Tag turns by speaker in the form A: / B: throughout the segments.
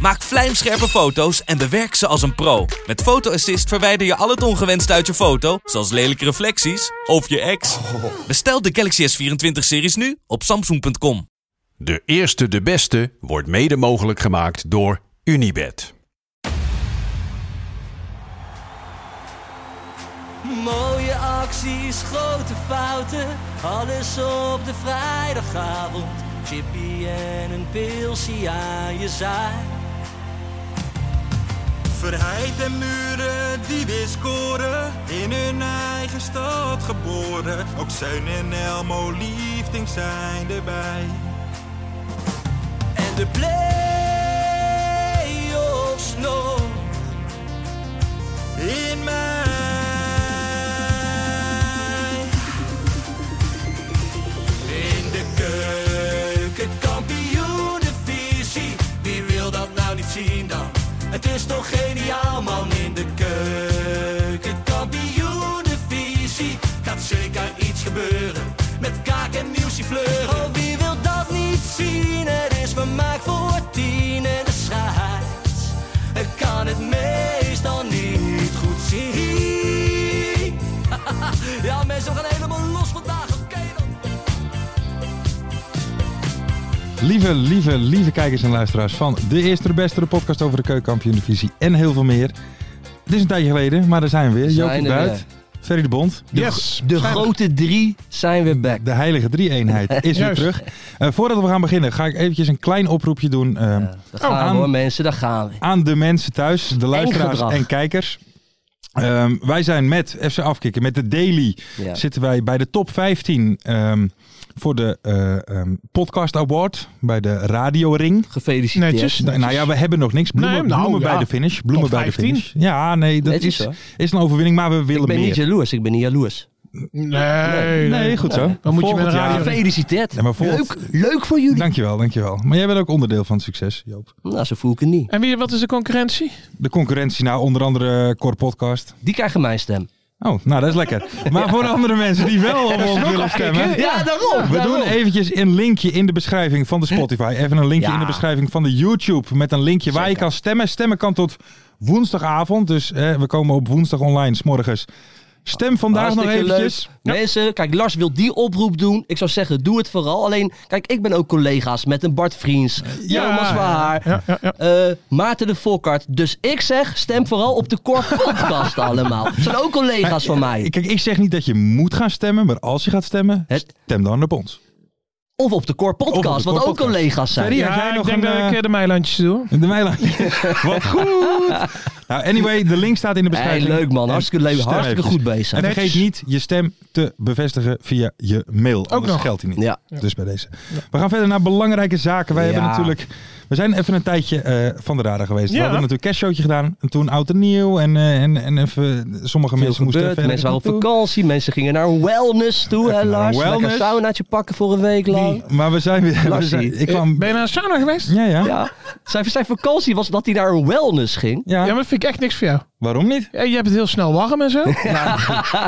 A: Maak vlijmscherpe foto's en bewerk ze als een pro. Met Photo Assist verwijder je al het ongewenst uit je foto, zoals lelijke reflecties of je ex. Bestel de Galaxy S24-series nu op samsung.com.
B: De eerste de beste wordt mede mogelijk gemaakt door Unibed.
C: Mooie acties, grote fouten, alles op de vrijdagavond. Chippy en een pilsie aan je zaai.
D: Verheid en muren die weer scoren, in hun eigen stad geboren. Ook Zijn en Elmo liefding zijn erbij.
C: En de play-offs nog.
D: In mij.
C: In de keuken, kampioenenvisie. Wie wil dat nou niet zien dan? Het is toch geniaal man in de keuken, kampioenenvisie. Gaat zeker iets gebeuren met kaak en nieuwsje fleuren. Oh, wie wil dat niet zien? Het is vermaakt voor tien en de scheids. Ik kan het meestal niet goed zien. Ja, mensen, we gaan helemaal los vandaag. Oké dan.
E: Lieve, lieve, lieve kijkers en luisteraars van de eerste, de beste, de podcast over de keukenkampioendivisie en heel veel meer. Het is een tijdje geleden, maar daar zijn we weer.
F: Zijn
E: Joopie
F: er
E: Buit, Ferry de Bond.
F: De,
E: Yes,
F: de
E: zijn we.
F: grote drie zijn weer back.
E: De heilige drie-eenheid is weer
G: Juist.
E: terug. Eh, voordat we gaan beginnen, ga ik eventjes een klein oproepje doen ehm,
F: Ja, daar gaan
E: aan-
F: we hoor mensen, daar gaan we.
E: aan de mensen thuis, de luisteraars en,
F: gedrag.
E: kijkers. Ehm, wij zijn met FC Afkikken, met de Daily,
F: Ja.
E: zitten wij bij de top 15 ehm, voor de eh, ehm, Podcast Award bij de Radio Ring.
F: Gefeliciteerd.
G: Netjes.
E: Nou, nou ja, we hebben nog niks. Bloemen,
G: Nee, nou,
E: bloemen bij
G: ja.
E: de finish. Bloemen
G: Top
E: bij de
G: 15.
E: finish. Ja, nee, dat
F: Netjes,
E: is,
F: hoor.
E: is een overwinning, maar we willen
F: Ik ben
E: meer.
F: niet jaloers, ik ben niet jaloers.
G: Nee,
E: nee, goed zo.
G: Dan moet je met
E: Volgend
G: een
E: jaar-
G: radio...
F: Gefeliciteerd.
E: Ja, maar volgens-
F: leuk, leuk voor jullie.
E: Dankjewel, dankjewel. Maar jij bent ook onderdeel van het succes, Joop.
F: Nou, zo voel ik het niet.
G: En wie, wat is de concurrentie?
E: De concurrentie, nou, onder andere eh, Cor Podcast.
F: Die krijgen mijn stem.
E: Oh, nou, dat is lekker. Maar voor de andere mensen die wel op ons willen stemmen...
F: Ja, daarom.
E: We doen eventjes een linkje in de beschrijving van de Spotify. Even een linkje
F: Ja.
E: in de beschrijving van de YouTube. Met een linkje waar je kan stemmen. Stemmen kan tot woensdagavond. Dus eh, we komen op woensdag online, smorgens. Stem vandaag nog
F: Hartstikke
E: eventjes.
F: leuk. Mensen, kijk, Lars wil die oproep doen. Ik zou zeggen, doe het vooral. Alleen, kijk, ik ben ook collega's met een Bart Vriends, Jonas Waar,
G: Ja, ja, ja.
F: eh, Maarten de Volkart. Dus ik zeg, stem vooral op de Cor podcast allemaal. Dat zijn ook collega's van mij.
E: Kijk, ik zeg niet dat je moet gaan stemmen, maar als je gaat stemmen,
F: Het-
E: stem dan op ons.
F: Of op de Cor
E: Of op de
F: podcast,
E: Cor
F: wat ook
E: podcast.
F: collega's zijn.
E: Ferry,
G: Ja,
E: had jij
G: ik
E: nog
G: denk
E: een,
G: dat ik
E: eh,
G: eh, de Meilandjes doe.
E: De Meiland. Wat goed. Nou, anyway, de link staat in de
F: Hey,
E: beschrijving.
F: leuk man,
E: En
F: hartstikke leuk,
E: stem
F: hartstikke
E: eventjes.
F: goed bezig.
E: En vergeet niet je stem te bevestigen via je mail. Ook anders
G: nog.
E: geldt die niet.
F: Ja.
E: Dus bij deze. We gaan verder naar belangrijke zaken. Wij
F: Ja.
E: hebben natuurlijk... We zijn even een tijdje eh, van de radar geweest. We
G: Ja.
E: hadden natuurlijk een cashshowtje gedaan. En toen oud en nieuw. En, eh, en, en even, sommige
F: Veel
E: mensen moesten
F: gebeurd,
E: verder.
F: mensen waren op
E: naartoe.
F: vakantie, mensen gingen naar wellness toe, hè
E: Even naar
F: Lars? Lekker
E: wellness.
F: een saunaatje pakken voor een week lang.
E: Maar we zijn weer... We
F: Lassie.
E: zijn, ik kwam...
G: Ben je naar een sauna geweest?
E: Ja, ja.
F: Ja, zijn, zijn vakantie was dat hij naar een wellness ging.
E: Ja,
G: Ja, maar dat vind ik echt niks voor jou.
E: waarom niet?
G: Ja, je hebt het heel snel warm en zo.
E: Ja,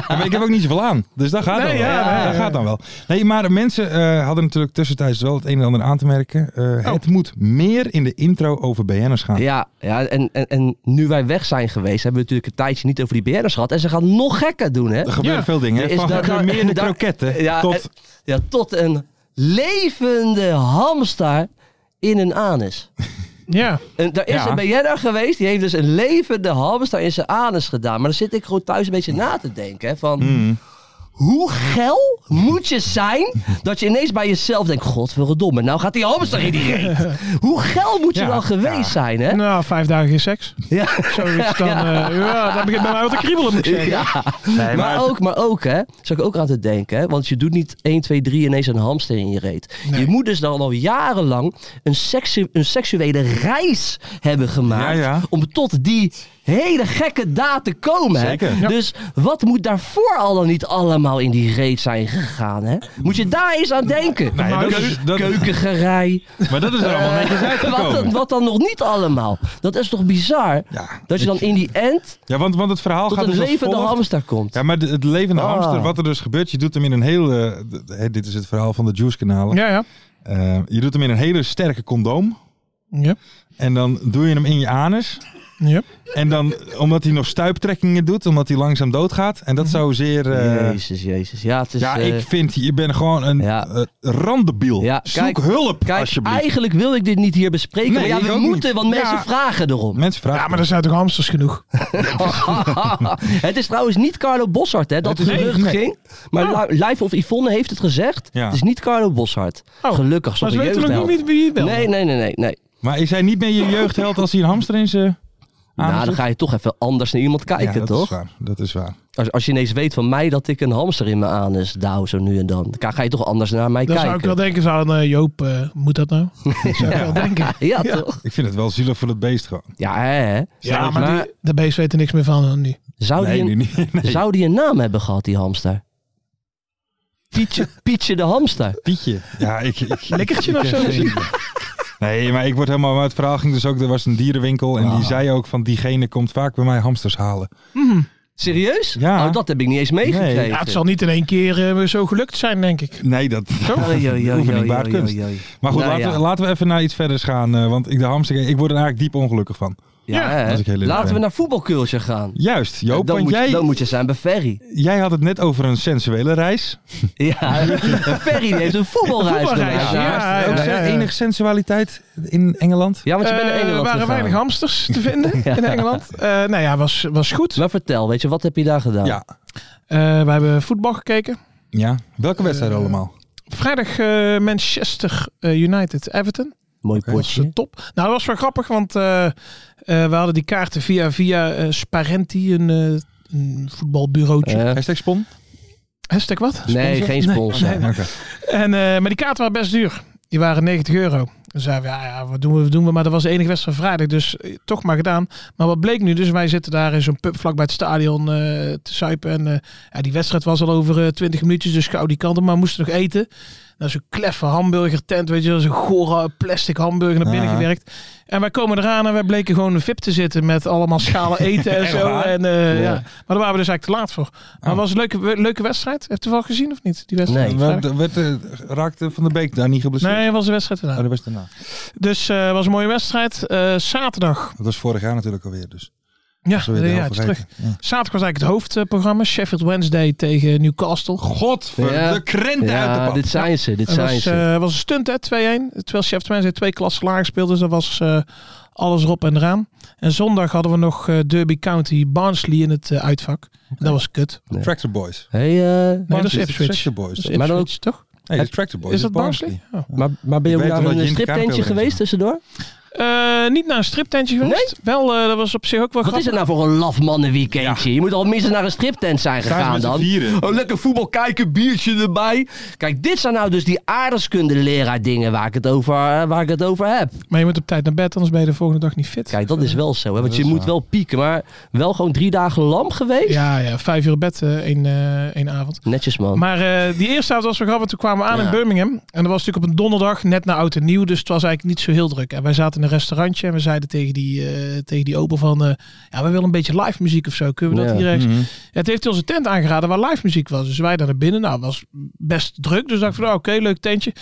E: maar ik heb ook niet zoveel aan. Dus dat gaat
G: Nee,
E: dan wel.
G: ja, nee,
E: dat
G: ja.
E: gaat dan wel. Nee, maar mensen eh, hadden natuurlijk tussentijds wel het een en ander aan te merken. Eh, Het moet meer in de intro over BN'ers gaan.
F: Oh. Ja, ja en, en, en nu wij weg zijn geweest, hebben we natuurlijk een tijdje niet over die BN'ers gehad. En ze gaan nog gekker doen, hè?
E: Er gebeuren
G: Ja.
E: veel dingen. Hè?
F: Is
E: Van
F: dat-
E: gecremeerde
F: daar-
E: kroketten
F: Ja,
E: tot...
F: en- ja, tot een levende hamster in een anus.
G: Ja.
F: En daar is
E: Ja.
F: een BN'er geweest, die heeft dus een levende hamster in zijn anus gedaan. Maar dan zit ik gewoon thuis een beetje na te denken, hè, van...
E: Hmm.
F: Hoe geil moet je zijn dat je ineens bij jezelf denkt... Godverdomme, nou gaat die hamster in die reet. Hoe geil moet je
E: Ja,
F: dan geweest zijn, hè?
G: Nou, vijf dagen geen seks.
F: Ja.
G: Zoiets dan... Ja, ja dat begint bij mij wat te kriebelen, moet ik zeggen.
F: Ja. maar, ook, maar ook, hè, zou ik ook aan te denken, hè, want je doet niet 1, 2, 3 ineens een hamster in je reet. Je moet dus dan al jarenlang een, seksu- een seksuele reis hebben gemaakt
E: Ja, ja.
F: om tot die hele gekke daad te komen. hè.
E: Zeker.
F: Dus wat moet daarvoor al dan niet allemaal in die reet zijn gegaan, hè? Moet je daar eens aan denken?
E: Nee, dat
G: dus
F: Keu-
E: is- dat-
F: Keukengerei.
E: Maar dat is er allemaal netjes
F: wat, dan,
E: uitgekomen.
F: wat dan nog niet allemaal? Dat is toch bizar?
E: Ja,
F: Dat je dan in die end
E: ja want, want het verhaal
F: tot
E: gaat
F: een
E: dus als
F: levende
E: volgt.
F: hamster komt.
E: Ja, maar de- het levende
F: Ah.
E: hamster, wat er dus gebeurt, je doet hem in een hele... d- hè, dit is het verhaal van de juice-kanalen.
G: Ja, ja.
E: Eh, je doet hem in een hele sterke condoom.
G: Ja.
E: En dan doe je hem in je anus.
G: Ja.
E: En dan, omdat hij nog stuiptrekkingen doet, omdat hij langzaam doodgaat. En dat zou zeer... eh,
F: Mhm. Jezus, Jezus. Ja, het is...
E: ja,
F: eh,
E: ik vind, je bent gewoon een
F: ja.
E: eh, randebiel.
F: Ja,
E: Zoek
F: kijk-
E: hulp,
F: Kijk,
E: alsjeblieft.
F: eigenlijk wil ik dit niet hier bespreken,
E: Nee,
F: maar
E: ik
F: ja, we
E: ook
F: moeten,
E: niet.
F: want mensen
E: Ja.
F: vragen erom.
E: Mensen vragen.
G: Ja, maar er zijn toch hamsters genoeg?
F: het is trouwens niet Carlo Bossart, hè, dat
E: Het is-
F: gerucht
E: nee.
F: ging. Maar Li- Live of Yvonne heeft het gezegd.
E: Ja.
F: Het is niet Carlo Bossart.
G: Oh,
F: Gelukkig,
G: Maar ze
F: zonder
G: weten ook
F: jeugdheld.
G: nog niet wie het wel.
F: Nee, nee, nee, nee. nee.
E: Maar is hij niet meer je jeugdheld als hij een hamster in zijn anus
F: Nou, dan
E: doet?
F: ga je toch even anders naar iemand
E: Ah, Ja,
F: kijken,
E: dat Is
F: toch?
E: waar. Dat is waar.
F: Als, als je ineens weet van mij dat ik een hamster in mijn anus douw, zo nu en dan. Dan ga je toch anders naar mij
G: Dan
F: kijken.
G: zou ik wel denken, zou, eh, Joop, eh, moet dat nou? Dat zou ik wel denken.
F: ja, toch?
E: Ik vind het wel zielig voor het beest gewoon.
F: Ja, hè, hè.
G: Ja,
F: Zou-
G: maar die- de beest weet er niks meer van nu.
F: zou,
E: nee,
F: Oh, die
E: nu
F: een,
E: niet. Nee.
F: zou die een naam hebben gehad, die hamster? Pietje, Pietje de hamster.
E: Pietje. Ja, ik... ik
G: Lekkertje
E: ik-
G: of zo?
E: ik- Nee, maar ik word helemaal... Maar het verhaal ging dus ook... Er was een dierenwinkel en
F: Ah.
E: die zei ook van... Diegene komt vaak bij mij hamsters halen.
F: Serieus?
E: Ja.
F: Oh, dat heb ik niet eens meegekregen.
E: Nee.
G: Ja, het zal niet in één keer eh, zo gelukt zijn, denk ik.
E: Nee, dat...
F: Oei, oei, oei,
E: Oefening
F: oei,
E: baart
F: oei,
E: kunst.
F: oei, oei.
E: Maar goed,
F: Nou
E: laten,
F: ja.
E: we, laten we even naar iets verders gaan. eh, want ik, de hamster... Ik word er eigenlijk diep ongelukkig van.
F: Ja, hè.
E: als ik heel eerlijk
F: Laten we
E: ben.
F: naar voetbalculture gaan.
E: Juist, Joop.
F: dan,
E: want
F: moet, je-
E: jij,
F: dan moet je zijn bij Ferry.
E: jij had het net over een sensuele reis.
F: Ja, Ferry die heeft een voetbalreis
G: Voetbalreis,
F: gemaakt.
G: ja.
F: Ja,
E: ook
G: ja,
E: zo-
G: ja.
E: enig sensualiteit in Engeland.
F: Ja, want je bent naar
G: Eh,
F: Engeland
G: er waren
F: gegaan.
G: weinig hamsters te vinden in Engeland. Eh nou ja, was, was goed.
F: Maar vertel, weet je, wat heb je daar gedaan?
E: Ja.
G: Eh, we hebben voetbal gekeken.
E: Ja. Welke wedstrijd
G: Eh,
E: allemaal?
G: Vrijdag eh, Manchester eh, United Everton.
F: Mooi
G: Dat was eh,
F: potje.
G: top. Nou, dat was wel grappig, want eh, eh, we hadden die kaarten via, via eh, Sparenti, een, eh, een voetbalbureautje.
F: Eh,
E: Hashtag spon?
G: Hashtag wat?
F: nee, geen sponsor.
E: Nee, oké.
G: En, eh, maar die kaarten waren best duur. Die waren 90 euro. Dan zeiden we, ja, ja, wat doen we, wat doen we? Maar dat was de enige wedstrijd vrijdag, dus eh, toch maar gedaan. Maar wat bleek nu? Dus wij zitten daar in zo'n pub vlakbij het stadion eh, te suipen. En eh, ja, die wedstrijd was al over eh, 20 minuutjes, dus gauw die kant op. Maar we moesten nog eten. Nou, zo'n kleffe hamburger tent, weet je wel. Zo'n gore plastic hamburger naar binnen
E: Ah.
G: gewerkt. En wij komen eraan en wij bleken gewoon een VIP te zitten met allemaal schalen eten en
E: Echt
G: zo.
E: waar?
G: En, eh,
F: Ja.
G: ja. Maar daar waren we dus eigenlijk te laat voor. Maar
E: Oh.
G: was een leuke, leuke wedstrijd. Heeft u wel gezien of niet? Die wedstrijd?
F: Nee.
G: Vrijdag?
E: Werd, werd, eh, raakte Van der Beek daar niet geblesseerd?
G: Nee, was de wedstrijd
E: Oh,
G: erna.
E: dat was daarna.
G: Dus eh was een mooie wedstrijd. Eh, zaterdag.
E: Dat was vorig jaar natuurlijk alweer, dus.
G: Ja,
E: Dat is alweer de
G: ja,
E: helft
G: het is terug.
E: vergeten. Ja.
G: Zaterdag was eigenlijk het hoofdprogramma. Sheffield Wednesday tegen Newcastle.
E: Godver,
F: Ja.
E: de krenten uit de
F: Ja,
E: pan.
F: dit zijn ze, dit
G: Het
F: zijn
G: was,
F: ze.
G: eh, was een stunt, hè, 2-1. Terwijl Sheffield Wednesday twee klassen lager speelde. Dus dat was eh, alles erop en eraan. En zondag hadden we nog eh, Derby County Barnsley in het eh, uitvak. En dat was kut.
F: Nee.
E: Tractor Boys.
F: Hey, eh,
G: Nee, dat is
E: Barnsley,
G: Ipswich.
E: Tractor Boys.
G: Dat
E: Nee,
G: is
F: Maar dan
G: Ipswich, toch?
E: dat is Tractor Boys.
G: Is dat
E: dat
G: Barnsley? Oh.
F: maar, maar ben je
E: Ik
F: ook
E: weet
F: naar
E: wel dat
F: een
E: je in de
F: striptentje
E: Kaapbeelden
F: geweest tussendoor?
G: Eh, niet naar een striptentje geweest. Wel, eh, dat was op zich ook wel
F: Wat is
G: grappig.
F: het nou voor een laf mannenweekendje? Je moet al minstens naar een striptent zijn gegaan dan. Oh, lekker voetbal kijken, biertje erbij. Kijk, dit zijn nou dus die aardrijkskunde-leraar dingen waar ik, het over, eh, waar ik het over heb.
G: Maar je moet op tijd naar bed, anders ben je de volgende dag niet fit.
F: Kijk, dat is wel zo, hè, want
E: Dat
F: je
E: is
F: moet
E: waar.
F: wel pieken. Maar wel gewoon drie dagen lam geweest?
G: Ja, ja, vijf uur bed eh, één, eh, één avond.
F: Netjes, man.
G: Maar eh, die eerste avond was wel grappig. Toen kwamen we aan
F: Oh. Ja.
G: in Birmingham. En dat was natuurlijk op een donderdag, net na oud en nieuw. Dus het was eigenlijk niet zo heel druk. En wij zaten in een restaurantje en we zeiden tegen die, eh, tegen die open van... eh, ja, we willen een beetje live muziek of zo. Kunnen we dat
F: Ja.
G: hier ergens? Ja, het heeft hij onze tent aangeraden waar live muziek was. Dus wij daar naar binnen. Nou, het was best druk. Dus dacht ik van, oh, oké, leuk tentje.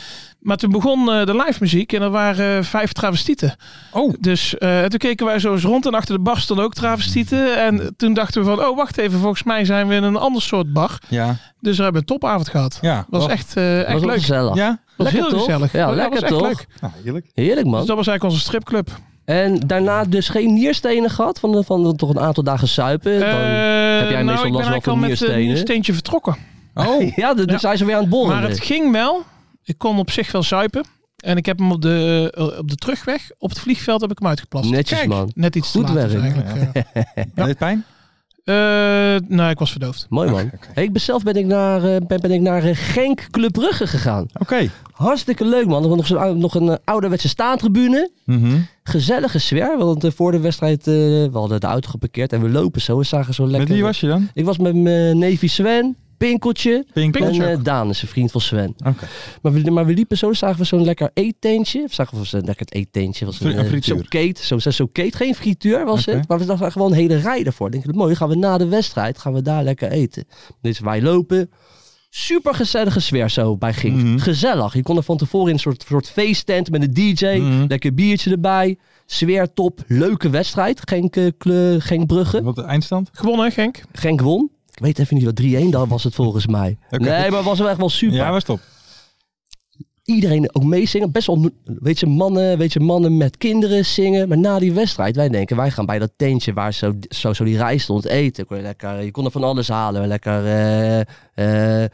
G: Maar toen begon eh, de live muziek en er waren eh, vijf travestieten.
E: Oh.
G: Dus eh, en toen keken wij zo eens rond en achter de bar stonden ook travestieten. En toen dachten we van, oh, wacht even, volgens mij zijn we in een ander soort bar.
E: Ja.
G: Dus we hebben een topavond gehad.
E: Ja.
G: Was
E: Wat-
G: echt, eh,
F: was
G: echt
F: wel
G: leuk.
F: gezellig.
E: Ja?
G: Was
F: Lekker
G: heel
F: toch?
G: gezellig. Oh,
F: Ja,
G: was
F: lekker
G: echt
F: toch?
G: leuk.
E: Nou, heerlijk.
F: Heerlijk,
G: Dus
F: man.
G: dat was eigenlijk onze stripclub.
F: En daarna dus geen nierstenen gehad? Van, de- van toch een aantal dagen suipen? Dan...
G: Eh,
F: heb jij meestal
G: nou, ik
F: last
G: ben
F: wel
G: eigenlijk
F: van
G: al met
F: nierstenen?
G: een niersteentje vertrokken.
E: Oh.
F: ja, dan
G: Ja.
F: dan zijn ze weer aan het bollen.
G: Maar het ging wel. Ik kon op zich wel zuipen. En ik heb hem op de, eh, op de terugweg, op het vliegveld, heb ik hem uitgeplast.
F: Netjes,
G: Kijk,
F: man.
G: Net iets te
F: Goed
G: laat dus
F: werk.
G: eigenlijk. eh.
E: Deed het pijn?
G: Eh, nou, ik was verdoofd.
F: Mooi, man. Hey, ik ben zelf ben ik naar, eh, ben, ben ik naar eh, Genk Club Brugge gegaan.
E: Oké.
F: Hartstikke leuk, man. Er was nog, zo'n- nog een eh, ouderwetse staantribune.
E: Mhm.
F: Gezellige sfeer, want eh, voor de wedstrijd, eh, we hadden de auto geparkeerd en we lopen zo. We zagen zo lekker...
E: Met wie was je dan?
F: Ik was met mijn neefje Sven, Pinkeltje. En
E: Pinkeltje.
F: eh, Daan is een vriend van Sven.
E: Oké.
F: Maar we, maar we liepen zo, zagen we zo'n lekker eetteentje. Of zagen we zo'n lekker eetteentje. Was een,
E: Fri- een
F: eh,
E: frituur.
F: Zo'n keet, zo'n zo'n keet. Geen frituur was
E: Oké.
F: het. Maar we dachten gewoon een hele rij ervoor. Denk ik, mooi, gaan we na de wedstrijd, gaan we daar lekker eten. Dus wij lopen. Super gezellige sfeer zo bij Gink.
E: Mhm.
F: Gezellig. Je kon er van tevoren in een soort, soort feesttent met een DJ.
E: Mhm.
F: Lekker biertje erbij. Sfeer top. Leuke wedstrijd. Genk, eh, Kle- Genk Brugge.
E: Wat de eindstand?
G: Gewonnen, Genk.
F: Genk won. Ik weet even niet wat 3-1 dan was het volgens mij.
E: Oké.
F: Nee, maar het was wel echt wel super.
E: Ja, was top.
F: Iedereen ook meezingen. Best wel, weet je, mannen, weet je, mannen met kinderen zingen. Maar na die wedstrijd, wij denken, wij gaan bij dat tentje waar zo, zo, zo die rij stond eten. Kon je, lekker, je kon er van alles halen. Lekker, eh, eh,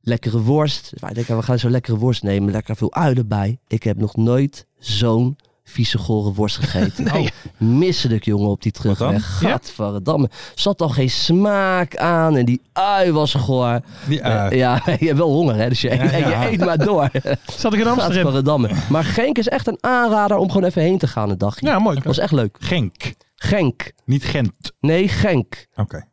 F: lekkere worst. Wij denken, we gaan zo lekkere worst nemen. Lekker veel ui erbij. Ik heb nog nooit zo'n vieze gore worst gegeten. Oh, misselijk jongen op die terugweg.
G: Ja?
F: Gadverdamme. Zat al geen smaak aan en die ui was goor.
E: Die, eh,
F: Eh, ja, je hebt wel honger hè, dus je,
E: Ja, ja.
F: je eet maar door.
G: Zat ik in Amsterdam.
F: Gadverdamme. Maar Genk is echt een aanrader om gewoon even heen te gaan een dagje.
G: Ja, mooi.
F: was echt leuk.
E: Genk.
F: Genk.
E: Niet Gent.
F: Nee, Genk.
E: Oké.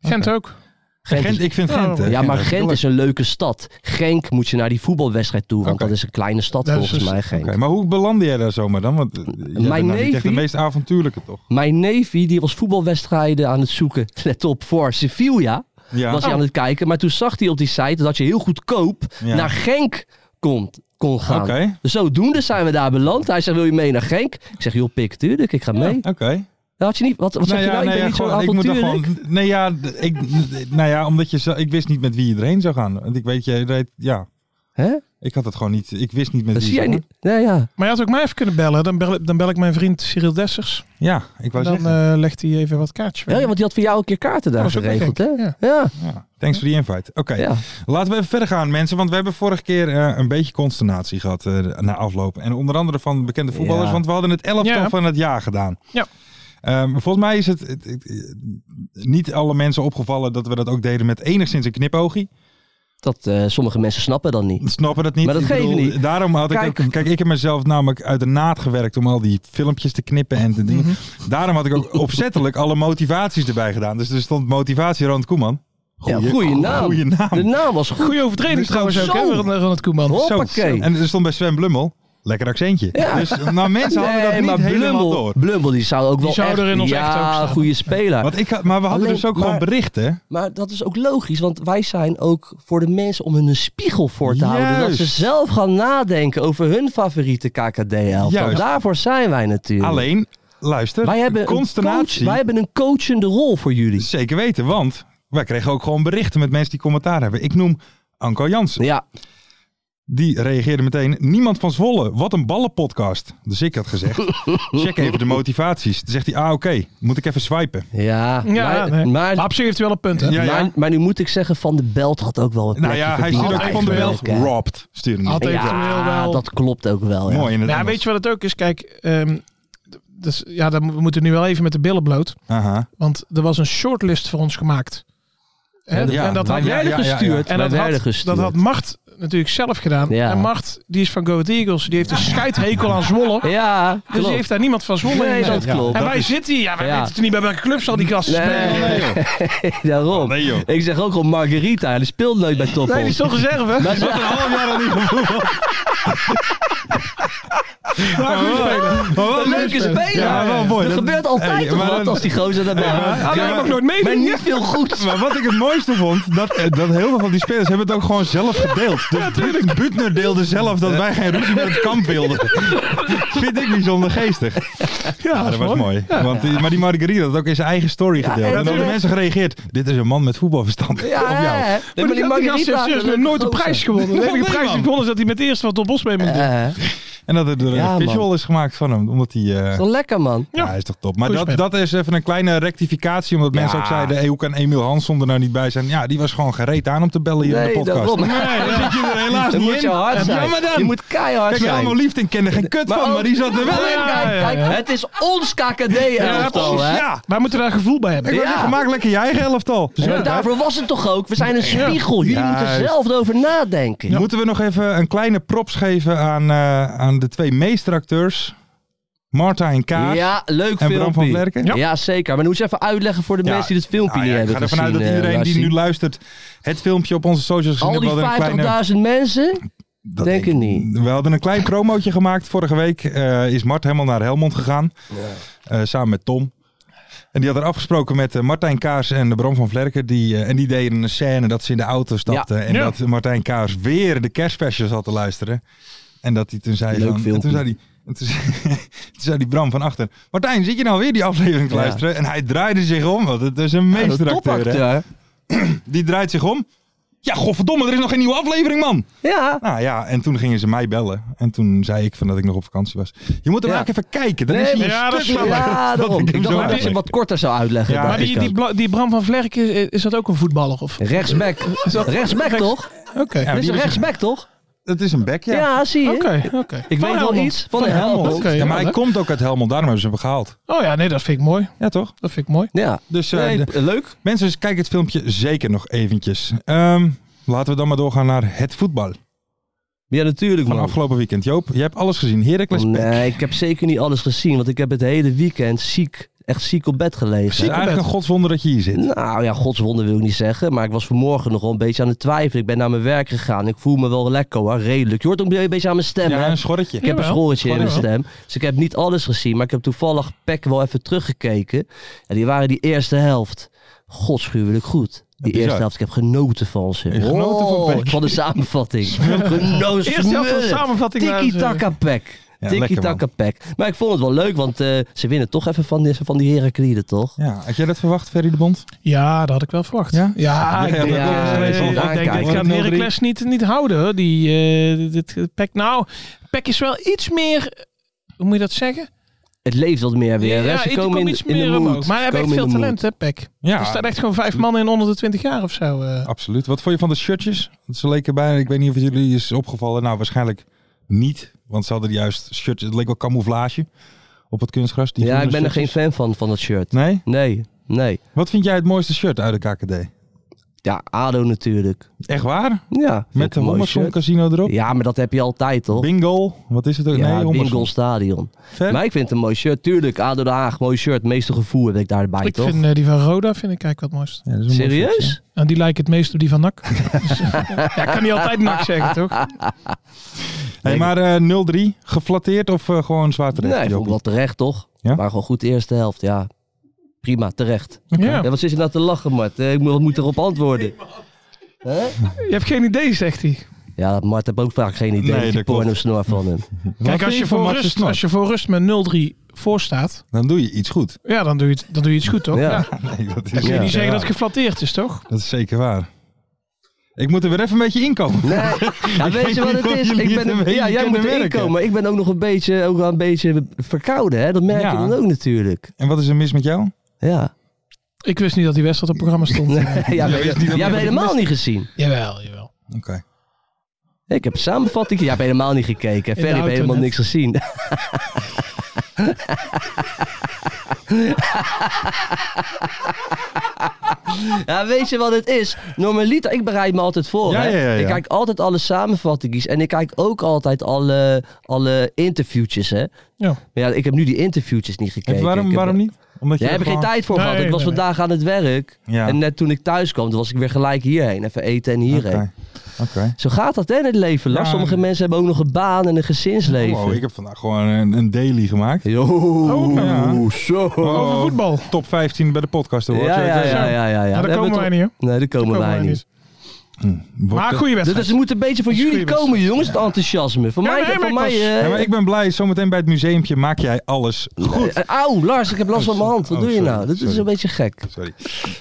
G: Gent ook.
E: Gent,
F: is- Oh,
E: ik vind
G: Ja,
E: Gent. eh,
F: Ja, maar
E: hartstikke
F: Gent
E: leuk.
F: is een leuke stad. Genk moet je naar die voetbalwedstrijd toe, want
E: Oké.
F: dat is een kleine stad
G: Dat is
F: volgens
G: dus-
F: mij, Genk.
E: Oké, maar hoe belandde jij daar zomaar dan? Want eh, jij bent nou niet echt de
F: neefie-
E: meest avontuurlijke, toch?
F: Mijn neefie, die was voetbalwedstrijden aan het zoeken, let op, voor Sevilla.
E: Ja.
F: Was hij aan het kijken, maar toen zag hij op die site dat je heel goedkoop
E: Ja.
F: naar Genk kon, kon gaan.
E: Oké.
F: Zodoende zijn we daar beland. Hij zei, wil je mee naar Genk? Ik zeg, joh pik, tuurlijk, ik ga mee.
E: Oké.
F: Ja, Had je niet, wat, wat zeg je nou? ik ben niet zo
E: gewoon- ik moet dan
F: avontuurlijk.
E: gewoon. Nee, ja, d- ik, d- nou ja, omdat je. zo- Ik wist niet met wie je erheen zou gaan. Want ik weet, je reed. Ja,
F: Hè?
E: ik had het gewoon niet. Ik wist niet met
F: Dat
E: wie
F: zie
E: je
F: jij
E: zou
F: niet. Nee, ja.
G: Maar je had ook mij even kunnen bellen. Dan bel, dan bel ik mijn vriend Cyril Dessers.
E: gaan. Ja, ik wou
G: Dan
E: zeggen.
G: eh, legt hij even wat kaartjes
F: Ja,
G: weg.
F: ja, want die had voor jou een keer kaarten daar
G: Dat was ook
F: geregeld, hè?
G: wel gek,
F: Ja.
E: ja. Thanks voor die invite. Oké,
F: ja.
E: laten we even verder gaan, mensen. Want we hebben vorige keer eh, een beetje consternatie gehad eh, na afloop. En onder andere van bekende voetballers.
F: Ja.
E: Want we hadden het elftal
G: Ja.
E: van het jaar gedaan.
G: Ja.
E: Ehm, volgens mij is het, het- het- het- niet alle mensen opgevallen dat we dat ook deden met enigszins een knipoogie.
F: Dat eh, sommige mensen snappen dan niet.
E: snappen dat niet.
F: Maar dat
E: Ik
F: geeft
E: bedoel,
F: niet.
E: Daarom had
F: Kijk.
E: ik ook, kijk, ik heb mezelf namelijk uit de naad gewerkt om al die filmpjes te knippen en te dingen.
F: Mhm.
E: Daarom had ik ook opzettelijk alle motivaties erbij gedaan. Dus er stond motivatie Ronald Koeman.
F: ja, goede naam.
E: Goeie
F: De
E: naam.
F: naam was goed.
G: Goeie overtreding
E: Dat is
G: trouwens ook, hè,
F: gewoon zo.
G: van van het Koeman.
E: Zo.
F: Hoppakee.
E: En er stond bij Sven Blummel. Lekker accentje.
F: Ja.
E: Dus nou, mensen hadden dat
F: Nee,
E: niet
F: maar
E: helemaal
F: Blummel,
E: door.
F: Blummel, die zou ook wel
G: zou
F: echt,
G: er in ons echt ook
F: ja,
G: staan.
F: een goede speler.
E: Want ik had, maar we hadden
F: Alleen,
E: dus ook gewoon
F: maar-
E: berichten.
F: Maar dat is ook logisch, want wij zijn ook voor de mensen om hun een spiegel voor te houden. Dat ze
E: Juist.
F: zelf gaan nadenken over hun favoriete KKD-elftal.
E: Juist.
F: Daarvoor zijn wij natuurlijk.
E: Alleen, luister,
F: wij hebben, een coach,
E: consternatie.
F: wij hebben een coachende rol voor jullie.
E: Zeker weten, want wij kregen ook gewoon berichten met mensen die commentaar hebben. Ik noem Anko Jansen.
F: Ja,
E: Die reageerde meteen: Niemand van Zwolle, wat een ballenpodcast. Dus ik had gezegd: check even de motivaties. Toen zegt hij: Ah, oké, moet ik even swipen.
F: ja.
G: Ja,
F: maar,
G: nee.
F: maar,
G: Maar op zich heeft hij wel een punt, hè?
E: Ja, ja.
F: Maar, maar nu moet ik zeggen, Van de Belt had ook wel een
E: Nou
F: plekje
E: ja, hij
F: verdiend
E: stuurde ook van de bel.
F: eigenlijk, hè.
E: Robbed, stuurde hij.
G: Had hij eventueel
F: Ja,
G: wel.
F: dat klopt ook wel. Ja.
E: Mooi in het
G: Ja,
E: Engels.
G: weet je wat het ook is? Kijk, ehm, d- dus, ja, dan, mo- we moeten nu wel even met de billen bloot.
E: Aha.
G: Want er was een shortlist voor ons gemaakt. Hè,
F: Ja,
G: en dat had,
F: wij werden
E: ja, ja, ja.
F: gestuurd. wij
G: en dat
F: werden
G: had,
F: gestuurd.
G: dat had Mart natuurlijk zelf gedaan.
F: Ja.
G: En Mart, die is van Go Ahead Eagles. Die heeft een scheidhekel aan Zwolle.
F: ja,
G: Dus
F: klopt.
G: die heeft daar niemand van Zwolle
F: Nee,
G: in.
F: dat
G: Ja.
F: klopt.
G: En wij zitten hier. Ja, wij
F: Ja.
G: weten toch niet bij welke club zal die gasten
F: Nee.
G: spelen.
E: Nee, joh.
F: Daarom.
E: Nee, joh.
F: Ik zeg ook al Margarita, die speelt nooit bij Top
G: Nee, die is toch reserve?
F: Maar
E: Een half jaar al niet gevoeld.
F: een leuke speler.
E: Ja, wel mooi.
F: Er
E: Dat-
F: gebeurt altijd
E: Hey,
F: toch
E: maar
F: wat
E: dat-
F: als die gozer daarbij
E: Ja,
F: Ja,
G: Alleen
E: maar-
G: mag nooit meedoen.
F: Maar niet veel goed.
E: Maar wat ik het mooiste vond, dat, eh, dat heel veel van die spelers hebben het ook gewoon zelf gedeeld. De Butner deelde zelf dat wij geen ruzie met het kamp wilden. Vind ik bijzonder geestig. Ja, dat was mooi. Want, die- Maar die Margarita had ook in zijn eigen story gedeeld. en dan hebben
G: natuurlijk.
E: mensen gereageerd. Dit is een man met voetbalverstand.
F: Ja,
E: Op jou.
F: hè. Nee, maar die Margarita.
G: heeft nog nooit een prijs gewonnen. De enige
E: Nee,
G: prijs die
E: man.
G: gewonnen is dat hij met het eerste wat op Bos mee moet doen.
F: Eh,
E: En dat er
F: Ja,
E: een visual
F: man.
E: is gemaakt van hem. Omdat hij... eh,
F: Wel lekker, man.
E: ja,
G: Ja.
E: hij is toch top. Maar
G: Goeie
E: dat, dat is even een kleine rectificatie. Omdat mensen ook zeiden, hey, hoe kan Emiel Hansson er nou niet bij zijn? Ja, die was gewoon gereed aan om te bellen hier in de
F: Nee,
E: podcast.
F: daarom.
E: Daar zit je er helaas
F: Dan
E: niet
F: moet
E: in.
F: je hard
E: Ja,
F: zijn.
E: maar dan.
F: Je moet keihard
E: Kijk,
F: zijn.
E: allemaal liefde kennen geen kut van,
F: ook-
E: maar die zat er wel
F: Kijk,
E: in.
F: kijk,
G: Oh, Ja, ja, ja.
F: kijk, Het is ons KKD-elftal,
E: precies,
F: hè?
E: ja.
G: Wij moeten daar gevoel bij hebben.
E: Ik wou
F: Ja.
E: zeggen, maak lekker je eigen elftal.
F: Maar daarvoor was het toch ook? We zijn een spiegel. Jullie moeten
E: Juist.
F: zelf erover nadenken.
E: Moeten we nog even een kleine props geven aan, eh, aan de twee meesteracteurs Marta en Kaas.
F: Ja, leuk
E: En
F: filmpje.
E: Bram van Vlerken?
F: Ja.
E: Ja.
F: zeker. Maar dan moet je even uitleggen voor de
E: Ja,
F: mensen die dit filmpje
E: nou ja,
F: niet
E: ik
F: hebben
E: ga ervan
F: gezien.
E: uit dat
F: eh,
E: iedereen die
F: Rassie.
E: nu luistert het filmpje op onze socials gezien
F: Al
E: heeft.
F: die
E: We hadden
F: 50.000
E: een kleine-
F: mensen?
E: Dat
F: denk ik niet.
E: We hadden een klein promootje gemaakt vorige week. Eh, is Mart helemaal naar Helmond gegaan. Eh, samen met Tom. En die had er afgesproken met eh, Martijn Kaars en Bram van Vlerken. Die, eh, en die deden een scène dat ze in de auto stapten. En
G: Ja.
E: dat Martijn Kaars weer de kerstspecial zat te luisteren. En dat hij toen zei...
F: Leuk
E: van, en
F: filmpje.
E: toen zei hij... en toen, zei- toen zei die Bram van achter, Martijn, zit je nou weer die aflevering te
F: Ja.
E: luisteren? En hij draaide zich om, want het is een
F: Een
E: meesteracteur. hè.
F: topacteur.
E: die draait zich om. Ja, godverdomme, er is nog geen nieuwe aflevering, man!
F: Ja.
E: Nou ja, en toen gingen ze mij bellen. En toen zei ik van dat ik nog op vakantie was. Je moet hem
F: Ja.
E: eigenlijk even kijken. Dan is hij
F: maar
E: een
G: ja, dat
E: stuk
G: snap ik.
E: langer.
F: Ja,
E: Dat
F: daarom.
E: ik hem
F: Ik
E: zo
F: dacht dat je
E: uitleg.
F: hem wat korter zou uitleggen.
E: Ja,
F: dacht
G: Maar die,
F: ik
G: die,
F: ook.
G: Bla- die Bram van Vlerk, is, is dat ook een voetballer? Of?
F: Rechtsback. Rechtsback toch?
G: Oké,
E: Ja,
F: Dit is
E: die
F: een
E: was-
F: rechtsback toch?
E: Dat is een bek, ja.
F: Ja, zie je.
G: oké, oké.
F: Ik
G: Van
F: weet wel
G: Helmond.
F: iets van de Helmond.
G: Oké,
E: Ja, maar
G: ja,
E: hij
G: leuk.
E: komt ook uit Helmond, daarom hebben ze hem gehaald.
G: Oh ja, nee, dat vind ik mooi.
E: Ja, toch?
G: Dat vind ik mooi.
F: Ja.
E: Dus eh,
F: Nee,
E: de-
F: leuk.
E: mensen, kijk het filmpje zeker nog eventjes. Ehm, laten we dan maar doorgaan naar het voetbal
F: Ja, natuurlijk
E: van
F: man.
E: afgelopen weekend. Joop, je hebt alles gezien. Heracles Pek.
F: Nee, ik heb zeker niet alles gezien, want ik heb het hele weekend ziek, echt ziek op bed gelegen.
E: Het is eigenlijk een godswonder dat je hier zit.
F: Nou ja, godswonder wil ik niet zeggen, maar ik was vanmorgen nog wel een beetje aan het twijfelen. Ik ben naar mijn werk gegaan, ik voel me wel lekker hoor, redelijk. Je hoort ook een beetje aan mijn stem
E: Ja,
F: hè?
E: een schorretje.
F: Ik heb een
G: Jawel.
F: schorretje in mijn
G: Schorretje.
F: stem. Dus ik heb niet alles gezien. Maar ik heb toevallig Peck wel even teruggekeken. En die waren die eerste helft godschuwelijk goed. Die
E: Bizar.
F: eerste helft. Ik heb genoten van ze. Oh,
E: Je genoten van Peck.
F: de samenvatting. genoten
G: Eerste helft van de samenvatting,
F: Tiki taka Peck.
E: Ja,
F: Tiki
E: lekker, man.
F: taka Peck. Maar ik vond het wel leuk. Want eh, ze winnen toch even van, die- van die Herakliden toch?
E: Ja, had jij dat verwacht, Ferry de Bond?
G: Ja, dat had ik wel verwacht.
E: Ja?
G: ja, ik
E: Ja,
G: denk,
E: dat
G: ja,
E: was
G: nee,
E: wel
G: ik
F: raar
G: denk, ik
F: kijken.
G: ga het Heracles niet, niet houden. Hoor. Die, eh, dit, dit- Peck, nou, Peck is wel iets meer... Hoe moet je dat zeggen?
F: Het leeft wat meer weer. hè.
G: ja,
F: ze
G: die
F: komen
G: komt
F: in,
G: iets
F: in
G: meer
F: de mood.
G: omhoog. Maar
F: Ze
G: hij heeft echt
F: komen
G: veel
F: in de mood.
G: talent, hè, Peck.
E: Ja, Mm.
G: Er staan echt gewoon vijf mannen in onder de 20 jaar of zo.
F: Ah,
G: eh.
E: Absoluut. Wat vond je van de shirtjes? Want Ze leken bijna, ik weet niet of het jullie is opgevallen. Nou, waarschijnlijk niet. Want ze hadden juist shirtjes. Het leek wel camouflage op het kunstgras. Die
F: Ja,
E: groene
F: ik ben er geen
E: shirtjes.
F: fan van, van dat shirt.
E: Nee?
F: Nee, nee.
E: Wat vind jij het mooiste shirt uit de KKD?
F: Ja, ADO natuurlijk.
E: Echt waar?
F: Ja, vind ik
E: Met de
F: een mooi
E: Hommerson
F: shirt.
E: Casino erop?
F: Ja, maar dat heb je altijd toch?
E: Bingo. Wat is het ook?
F: ja,
E: nee,
F: Bingo
E: Hommerson.
F: Stadion.
E: Ver?
F: Maar ik vind het een mooi shirt. Tuurlijk, ADO Den Haag, mooi shirt. Meeste gevoel heb ik daarbij,
G: ik
F: toch?
G: vind eh, die van Roda vind ik eigenlijk wat mooist.
E: Ja, dat is een mooi
F: Serieus?
E: shirtje.
G: En die lijkt het meest op die van NAC. Dus, ja, ik kan niet altijd NAC zeggen, toch?
E: Hey, maar eh 0-3, geflatteerd of eh, gewoon zwaar terecht?
F: nee, vond ik
E: Joppie?
F: wel terecht, toch?
E: Ja?
F: Maar gewoon goed de eerste helft, ja. Prima, terecht.
G: Ja.
F: Ja, wat zit je nou te lachen, Mart? Eh, Ik moet, wat moet erop antwoorden.
G: Je hebt geen idee, zegt hij.
F: Ja, Mart heb ook vaak geen idee.
E: Nee,
F: Nee, die
E: dat klopt.
F: pornosnor van hem.
E: Wat
G: Kijk,
E: vind
G: als je,
E: van
G: voor
E: Matje
G: rust,
E: Snor?
G: als je voor rust met 0-3 voor staat,
E: Dan doe je iets goed.
G: ja, dan doe je, het- dan doe je iets goed, toch?
F: Ja.
G: Ja.
E: Nee, dat is,
G: Dan kun je
F: Ja.
G: niet zeggen
E: Ja,
G: dat het geflatteerd is, toch?
E: dat is zeker waar. Ik moet er weer even een beetje inkomen.
F: Nee, ja, weet
E: weet
F: je wat
E: niet
F: het
E: of
F: is?
E: jullie
F: Ik
E: het een
F: ben,
E: beetje
F: ja, jij
E: kunnen
F: moet erin
E: merken.
F: komen. maar Ik ben ook nog een beetje, ook wel een beetje verkouden, hè? Dat merk
E: Ja.
F: je dan ook natuurlijk.
E: En wat is er mis met jou?
F: Ja.
G: Ik wist niet dat die wedstrijd op het programma stond.
F: Ja,
E: wist
F: maar-
E: niet dat
F: Jij
E: je
F: hebt
E: dat
F: helemaal niet gezien.
G: Jawel, jawel.
E: Oké.
F: Ik heb een samenvatting. Jij hebt helemaal niet gekeken.
G: de
F: Ferry heeft
G: auto
F: helemaal
G: net.
F: niks gezien. ja, weet je wat het is? Normaliter, ik bereid me altijd voor.
E: Ja,
F: hè?
E: ja, ja, ja.
F: Ik kijk altijd alle samenvattingen en ik kijk ook altijd alle, alle interviewtjes. Hè?
G: Ja.
F: Maar ja, ik heb nu die interviewtjes niet gekeken.
E: En waarom,
F: Ik heb-
E: waarom niet? Omdat je
F: Jij
E: er
F: hebt er geen
E: gewoon-
F: tijd voor
G: Nee,
F: gehad. Ik was
G: nee, nee.
F: vandaag aan het werk.
E: Ja.
F: En net toen ik thuis kwam, toen was ik weer gelijk hierheen. Even eten en hierheen.
E: Oké. Oké.
F: Zo gaat dat hè, in het leven. Lars,
E: Ja.
F: sommige mensen hebben ook nog een baan en een gezinsleven.
E: Wow, ik heb vandaag gewoon een, een daily gemaakt.
F: Yo,
E: ja.
F: zo.
G: Over voetbal.
E: Top 15 bij de podcast
F: Ja,
E: award.
F: ja, ja, ja, ja, ja.
G: daar
F: hebben
G: komen
F: we
G: wij
F: toch-
G: niet, hoor.
F: Nee, daar komen
G: Komen
F: wij
G: wij
F: niet.
E: Wordt
G: Maar
E: het-
G: goede wedstrijd.
F: Dus Hm. het moet een beetje van
G: Dat is
F: jullie
G: goede
F: komen, jongens, het enthousiasme. Voor
G: Ja,
F: mij,
G: nee,
F: voor
G: maar ik
F: mij...
G: was-
F: eh,
E: Ja, maar ik ben blij, zometeen bij het museumpje maak jij alles goed.
F: eh, Auw, Lars, ik heb last van mijn hand. Wat
E: Oh,
F: doe je
E: sorry,
F: nou? Dat is
E: sorry.
F: een beetje gek.
E: Sorry.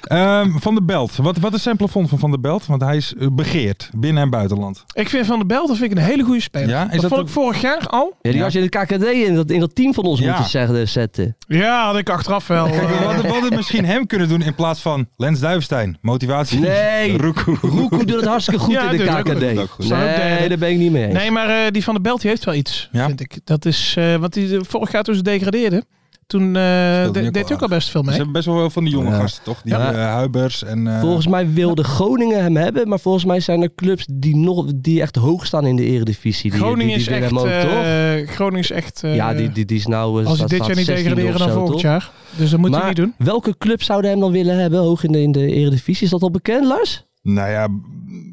E: Ehm, van de Belt. Wat, wat is zijn plafond van Van de Belt? Want hij is eh, begeerd binnen en buitenland.
F: Oh.
G: Ik vind Van der Belt dat vind ik een hele goede speler.
E: Ja, is
G: dat,
E: dat
G: vond
E: een-
G: ik vorig jaar al.
F: Ja, die
E: Ja.
F: had je in het KKD in dat, in dat team van ons
E: Ja.
F: moeten zeggen, eh, zetten.
G: Ja, had ik achteraf wel.
E: Kijk, we
G: eh,
E: hadden, we hadden misschien hem kunnen doen in plaats van Lens Duivestein. Motivatie.
F: Nee.
E: Roekoe.
F: Roekoe doet het hartstikke goed
G: Ja,
F: in de
G: doet het ook
F: KKD.
G: goed,
E: doet het ook goed.
G: Staan ook
F: Nee,
G: derde.
F: daar ben ik niet mee eens.
G: Nee, maar eh, die van de Belt die heeft wel iets,
E: Ja.
G: vind ik. Dat is, eh want die, vorig jaar toen ze degradeerden, toen
E: Speelde
G: eh, de-
E: hij ook
G: deed
E: wel
G: hij ook al best veel
E: Ze
G: mee.
E: hebben best wel veel van die jonge
F: Ja.
E: gasten, toch? Die
F: Ja.
E: eh, Huibers en... eh,
F: Volgens mij wilde Groningen hem hebben, maar volgens mij zijn er clubs die, nog, die echt hoog staan in de eredivisie. Die,
G: Groningen
F: die,
G: is
F: die willen
G: echt...
F: hem ook, toch?
G: eh, Groningen is echt... eh,
F: ja, die, die, die is nou... eh,
G: Als ze
F: staat-
G: dit jaar niet
F: staat 16e
G: degraderen,
F: of
G: dan
F: zo,
G: volgend
F: toch?
G: jaar. Dus dat moet je
F: maar
G: niet doen.
F: welke club zouden hem dan willen hebben, hoog in de, in de eredivisie? Is dat al bekend, Lars?
E: Nou ja, m,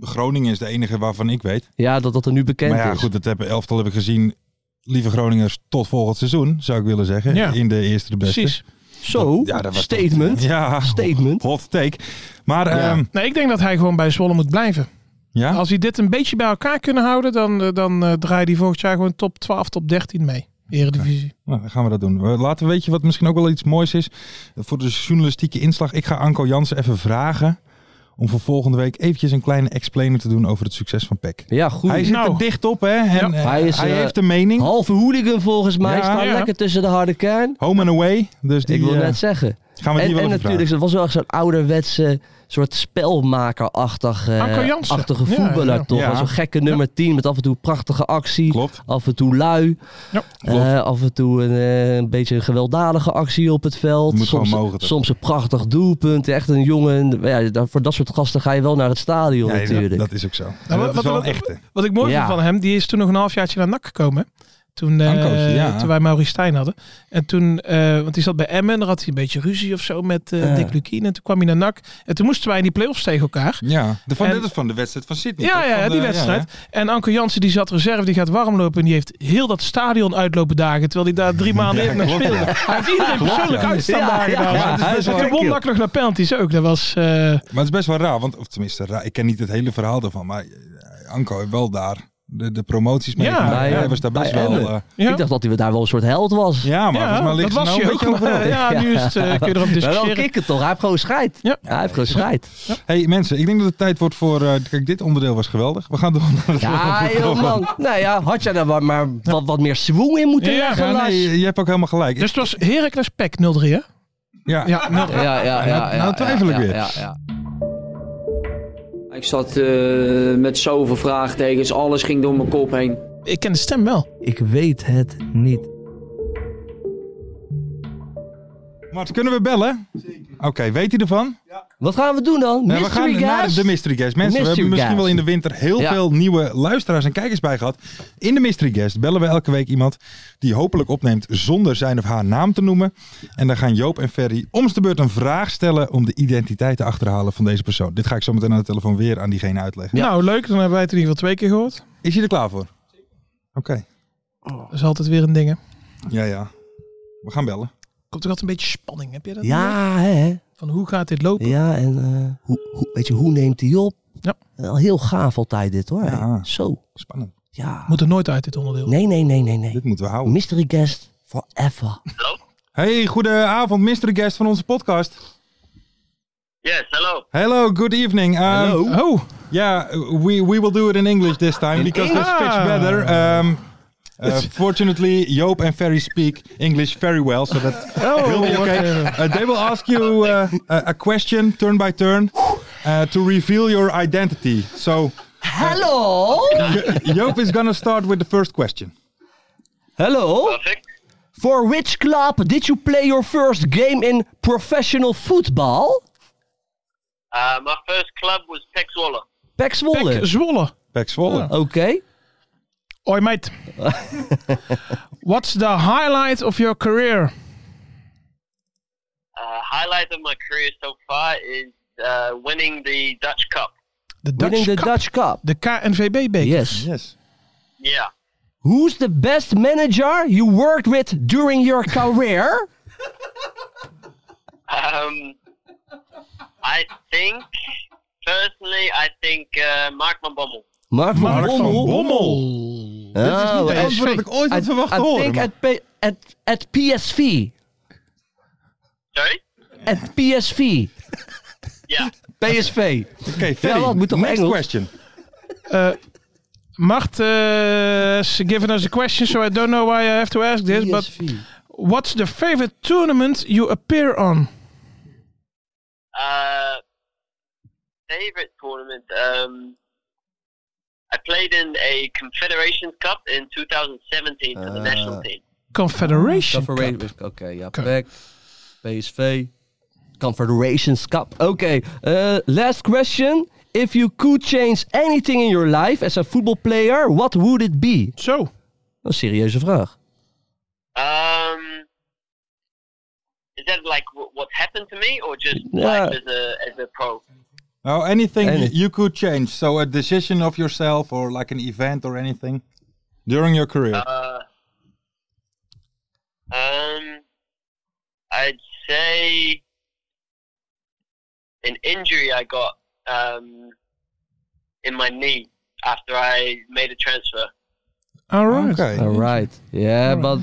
E: Groningen is de enige waarvan ik weet.
F: Ja, dat dat er nu bekend
E: maar ja,
F: is.
E: goed, dat hebben, elftal heb ik gezien. Lieve Groningers, tot volgend seizoen, zou ik willen zeggen.
G: Ja.
E: In de eerste de beste.
G: Precies.
F: Zo,
E: Ja, dat was toch-
F: statement.
E: Ja,
F: Statement.
E: hot take. Maar
F: Ja.
E: ehm,
G: Nee, ik denk dat hij gewoon bij Zwolle moet blijven.
E: ja,
G: Als hij dit een beetje bij elkaar kunnen houden, dan, eh, dan eh draait hij volgend jaar gewoon top 12, top 13 mee. Eredivisie.
E: Nou, dan gaan we dat doen. We laten weet je wat misschien ook wel iets moois is voor de journalistieke inslag. Ik ga Anko Jansen even vragen om voor volgende week eventjes een kleine explainer te doen over het succes van PEC.
F: Ja, goed.
E: Hij zit
G: Nou.
E: er dicht op, hè? En,
F: Hij
E: eh, hij
F: is, eh,
E: heeft een mening.
F: Halve hooligan volgens mij.
E: Ja,
F: staat
G: ja.
F: lekker tussen de harde kern.
E: Home and away. Dus die
F: Ik wil
E: eh,
F: net zeggen.
E: gaan we die
F: en
E: wel
F: en
E: even
F: natuurlijk, het was wel echt zo'n ouderwetse soort spelmakerachtig
E: Ah,
F: eh,
G: Anko Jansen.
F: achtige
G: Ja,
F: voetballer
G: ja.
F: toch.
E: Ja.
F: Als een gekke nummer 10 met af en toe prachtige actie.
E: Klopt.
F: Af en toe lui.
G: Ja,
E: klopt.
F: Eh, af en toe een, eh, een beetje een gewelddadige actie op het veld.
E: Moet
F: soms,
E: gewoon mogen, toch?
F: soms een prachtig doelpunt. Echt een jongen. Ja, daar- voor dat soort gasten ga je wel naar het stadion
E: Nee,
F: natuurlijk.
E: Dat, dat is ook zo.
G: Nou,
E: dat
G: wat-
E: is wel
G: wat-
E: een echte.
G: Wat ik mooi
F: Ja.
G: vond van hem, die is toen nog een halfjaartje naar NAC gekomen. Toen, eh,
E: Ankootje, ja.
G: toen wij Maurice Stijn hadden. En toen, eh, want die zat bij Emmen, daar had hij een beetje ruzie of zo met eh
F: Ja.
G: Dick Lukien. En toen kwam hij naar NAC. En toen moesten wij in die play-offs tegen elkaar.
E: Ja, de, van,
G: En-
E: dit is van de wedstrijd van Sydney.
G: Ja,
E: toch?
G: ja,
E: Van de-
G: die wedstrijd. En Anko Jansen die zat reserve, die gaat warmlopen en die heeft heel dat stadion uitlopen dagen. Terwijl hij daar drie maanden
E: Ja,
G: eerder naar
E: klopt,
G: speelde.
E: ja.
G: Hij heeft iedereen
E: Klopt,
G: persoonlijk
E: nou. ja.
G: uitstaan dagen.
F: ja,
G: daar.
F: ja,
E: het is
F: hij
E: best
F: is wel
G: En toen won NAC nog naar dus penalties ook. Dat was... eh,
E: Maar het is best wel raar, want of tenminste, raar, ik ken niet het hele verhaal daarvan, maar eh, Anko heeft wel daar de, de promoties mee.
G: Ja,
E: gemaakt.
F: bij,
E: hij
F: eh,
E: was daar best
F: bij
E: wel.
F: Emmen.
E: eh,
G: ja.
F: Ik dacht dat hij daar wel een soort held was.
E: ja, maar volgens mij ligt
G: dat
E: ze
G: was
E: nou
G: je
E: een
G: ook.
E: beetje
G: maar,
E: overal.
G: eh, ja, nu is het, eh, kun je
F: Maar
G: erop
F: wel
G: discussiëren.
F: kikken toch? Hij heeft gewoon scheid.
G: Ja.
F: Hij heeft gewoon scheid.
E: Hey mensen, ik denk dat het tijd wordt voor. eh, kijk, dit onderdeel was geweldig. We gaan door naar het
F: Ja,
E: volgende
F: joh, man. Nou ja, had jij daar wat- maar wat, wat meer zwoeng in moeten
G: Ja,
F: leggen,
E: Ja,
F: Lars?
E: nee, je hebt ook helemaal gelijk.
G: Dus het was Heracles Pek 0-3 hè?
E: ja,
G: Ja, 0
F: Ja, ja, ja.
E: Nou, nou twijfel ik weer.
H: Ik zat eh, met zoveel vraagtekens, alles ging door mijn kop heen.
G: Ik ken de stem wel.
F: Ik weet het niet.
E: Mart, kunnen we bellen? Oké, weet hij ervan?
F: Wat gaan we doen dan?
E: Nou,
F: Mystery
E: we gaan naar
F: guys?
E: de Mystery Guest. Mensen, we
F: Mystery
E: hebben misschien
F: guest.
E: wel in de winter heel
F: Ja.
E: veel nieuwe luisteraars en kijkers bij gehad. In de Mystery Guest bellen we elke week iemand die hopelijk opneemt zonder zijn of haar naam te noemen. En dan gaan Joop en Ferry om de beurt een vraag stellen om de identiteit te achterhalen van deze persoon. Dit ga ik zo meteen aan de telefoon weer aan diegene uitleggen.
G: Nou, leuk. Dan hebben wij het in ieder geval twee keer gehoord.
E: Is hij er klaar voor? Oké.
G: Dat is altijd weer een ding, hè?
E: Ja, ja. We gaan bellen.
G: Komt toch altijd een beetje spanning, heb je dat? niet?
F: Ja, hè.
G: Van hoe gaat dit lopen?
F: Ja, en eh, hoe, hoe, weet je, hoe neemt hij op?
G: Ja.
F: Wel Heel gaaf altijd dit, hoor.
E: Ja.
F: Zo.
E: Spannend.
F: Ja.
G: Moet er nooit uit, dit onderdeel.
F: Nee, nee, nee, nee, nee.
E: Dit moeten we houden.
F: Mystery guest forever.
E: Hey, goedenavond, mystery guest van onze podcast.
I: Yes, hello.
E: Hello, good evening. Um,
G: Oh,
E: Yeah, we, we will do it in English this time because this fits
G: English?
E: better. Um, uh, fortunately, Joop and Ferry speak English very well, so that will be Oh, okay. Uh, they will ask you uh, a, a question turn by turn uh, to reveal your identity. So
F: Hallo?
E: Joop is gonna start with the first question.
F: Hallo?
I: Perfect.
F: For which club did you play your first game in professional football?
I: Uh, my first club was Pek Zwolle.
F: Pek Zwolle.
G: Pek Zwolle.
E: Pek Zwolle.
F: Oké.
G: Oi, mate. What's the highlight of your career?
I: Uh, highlight of my career so far is uh, winning the Dutch Cup.
G: De Dutch
F: Winning the
G: Cup.
F: Dutch Cup.
G: De KNVB-beker.
F: Yes.
E: Yes.
I: Yeah.
F: Who's the best manager you worked with during your career?
I: Um, I think, personally, I think uh, Mark van Bommel.
F: Mark van
E: Mark van
F: Bommel.
E: Bommel. Dit is niet
F: Oh,
E: de
F: en-
E: antwoord dat ik ooit had verwacht te
F: I
E: horen.
F: think
E: maar-
F: at, P- at, at PSV.
I: Sorry?
F: At PSV.
I: Yeah.
F: PSV.
E: Oké, Ferry,
F: wat moet toch
E: next
F: Engels?
E: question.
G: Mart uh, given us a question, so I don't know why I have to ask this, but what's the favorite tournament you appear on?
I: Uh, favorite tournament? Um, I played in a Confederations Cup in 2017 for the national team.
G: Confederation.
F: Confederation Cup. Oké, ja. PEC, PSV. Confederations Cup. Oké, eh, last question. If you could change anything in your life as a football player, what would it be?
G: Zo.
F: Een serieuze vraag.
I: Um, is that like wh- what happened to me, or just
F: Yeah.
I: life as a as a pro?
E: Oh, anything
F: Any-
E: you could change. So a decision of yourself or like an event or anything during your career.
I: Uh, um, I'd say an injury I got um, in my knee after I made a transfer.
G: All right.
E: okay.
F: All right. Yeah, but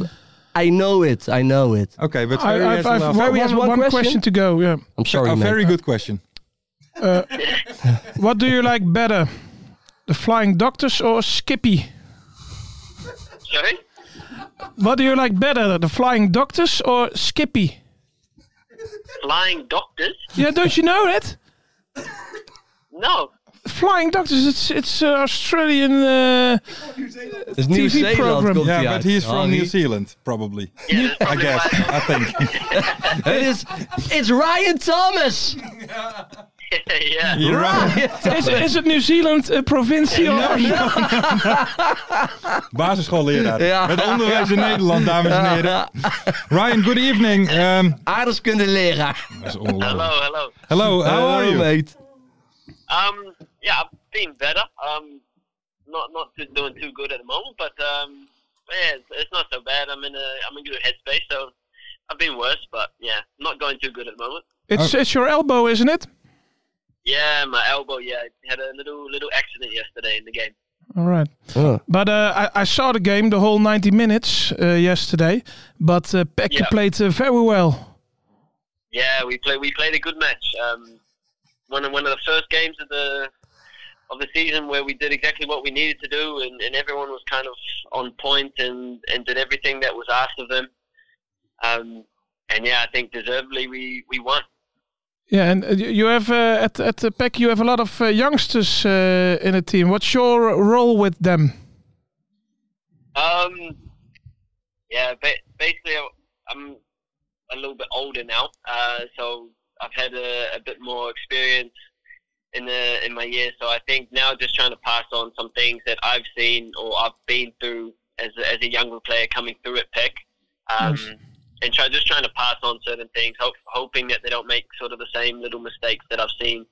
F: I know it. I know it.
E: Okay, but
G: I,
E: very,
G: I've, I've
E: last-
G: one,
F: Ferry has
G: one-
F: one
G: one
F: question?
G: question to go. Yeah.
F: I'm sorry,
E: a
F: man.
E: very good question.
G: What do you like better, the Flying Doctors or Skippy?
I: Sorry.
G: What do you like better, the Flying Doctors or Skippy?
I: Flying doctors?
G: Yeah, don't you know it?
I: No.
G: Flying Doctors, it's it's uh, Australian. Uh,
F: It's New
G: TV
F: Zealand
G: program.
F: komt
E: Yeah,
F: hij
E: but
F: uit.
E: he's from
F: Harry.
E: New Zealand, probably.
I: Yeah,
E: I
I: that's probably
E: guess.
I: why-
E: I think.
F: Het is it's Ryan Thomas.
I: yeah.
E: You're right.
G: is, is het New Zealand uh, provincie? of-
E: Basisschoolleraar.
F: Ja.
E: Met onderwijs in Nederland, dames en heren. Ryan, good evening. Um,
F: Aardeskunde leraar. Oh,
E: dat is ongelooflijk.
I: Hello, hello.
E: Hello, how are you?
F: mate?
I: Um, yeah, I've been better. Um, not not too, doing too good at the moment, but um, yeah, it's, it's not so bad. I'm in a I'm in good headspace, so I've been worse, but yeah, not going too good at the moment.
G: It's, it's your elbow, isn't it?
I: Yeah, my elbow. Yeah, I had a little little accident yesterday in the game.
G: All right. But uh, I, I saw the game, the whole 90 minutes uh, yesterday. But uh, Pekka
I: Yeah.
G: played uh, very well.
I: Yeah, we play we played a good match. Um, one of one of the first games of the of the season where we did exactly what we needed to do, and, and everyone was kind of on point and, and did everything that was asked of them. Um, and yeah, I think deservedly we, we won.
G: Yeah, and uh, you you have uh, at at uh, Pek you have a lot of uh, youngsters uh, in the team. What's your role with them?
I: Um, yeah, ba- basically, I- I'm a little bit older now, uh, so I've had a, a bit more experience in the in my years. So I think now just trying to pass on some things that I've seen or I've been through as a, as a younger player coming through at Peck, um, and try just trying to pass on certain things, hope, hoping that they don't make sort of the same little mistakes that I've seen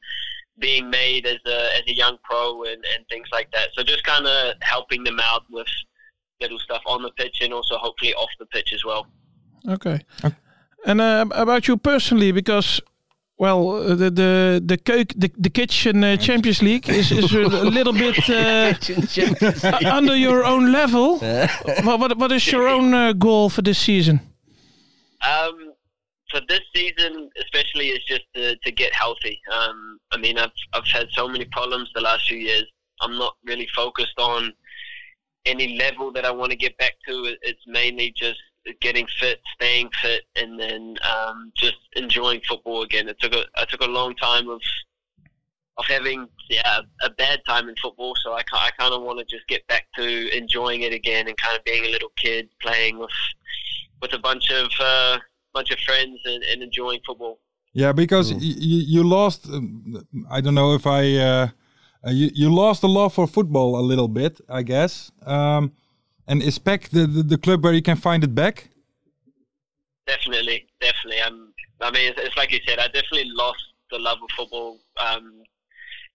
I: being made as a as a young pro and, and things like that. So just kind of helping them out with little stuff on the pitch and also hopefully off the pitch as well.
G: Okay. And uh, about you personally, because well, uh, the the the cook, the, the kitchen uh, Champions League is, is a little bit uh, under your own level. what, what what is your own uh, goal for this season?
I: Um, for this season, especially, is just to, to get healthy. Um, I mean, I've I've had so many problems the last few years. I'm not really focused on any level that I want to get back to. It- It's mainly just getting fit, staying fit, and then um, just enjoying football again. It took a I took a long time of of having yeah a, a bad time in football, so I ki- I kind of want to just get back to enjoying it again and kind of being a little kid playing with with a bunch of uh, bunch of friends and, and enjoying football.
E: Yeah, because y- y- you lost. um, I don't know if I. Uh, uh, you you lost the love for football a little bit, I guess. Um, and is PEC the, the the club where you can find it back?
I: Definitely, definitely. Um, I mean, it's, it's like you said, I definitely lost the love of football um,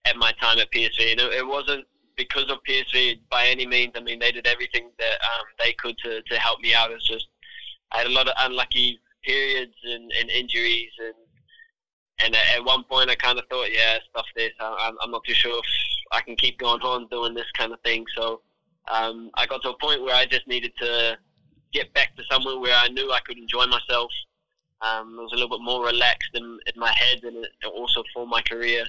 I: at my time at PSV, and it, it wasn't because of PSV by any means. I mean, they did everything that um, they could to, to help me out. It's just I had a lot of unlucky periods and, and injuries, and and at, at one point I kind of thought, yeah, stuff this. I, I'm- I'm not too sure if I can keep going on doing this kind of thing. So um, I got to a point where I just needed to get back to somewhere where I knew I could enjoy myself. Um, I was a little bit more relaxed in, in my head and it- also for my career.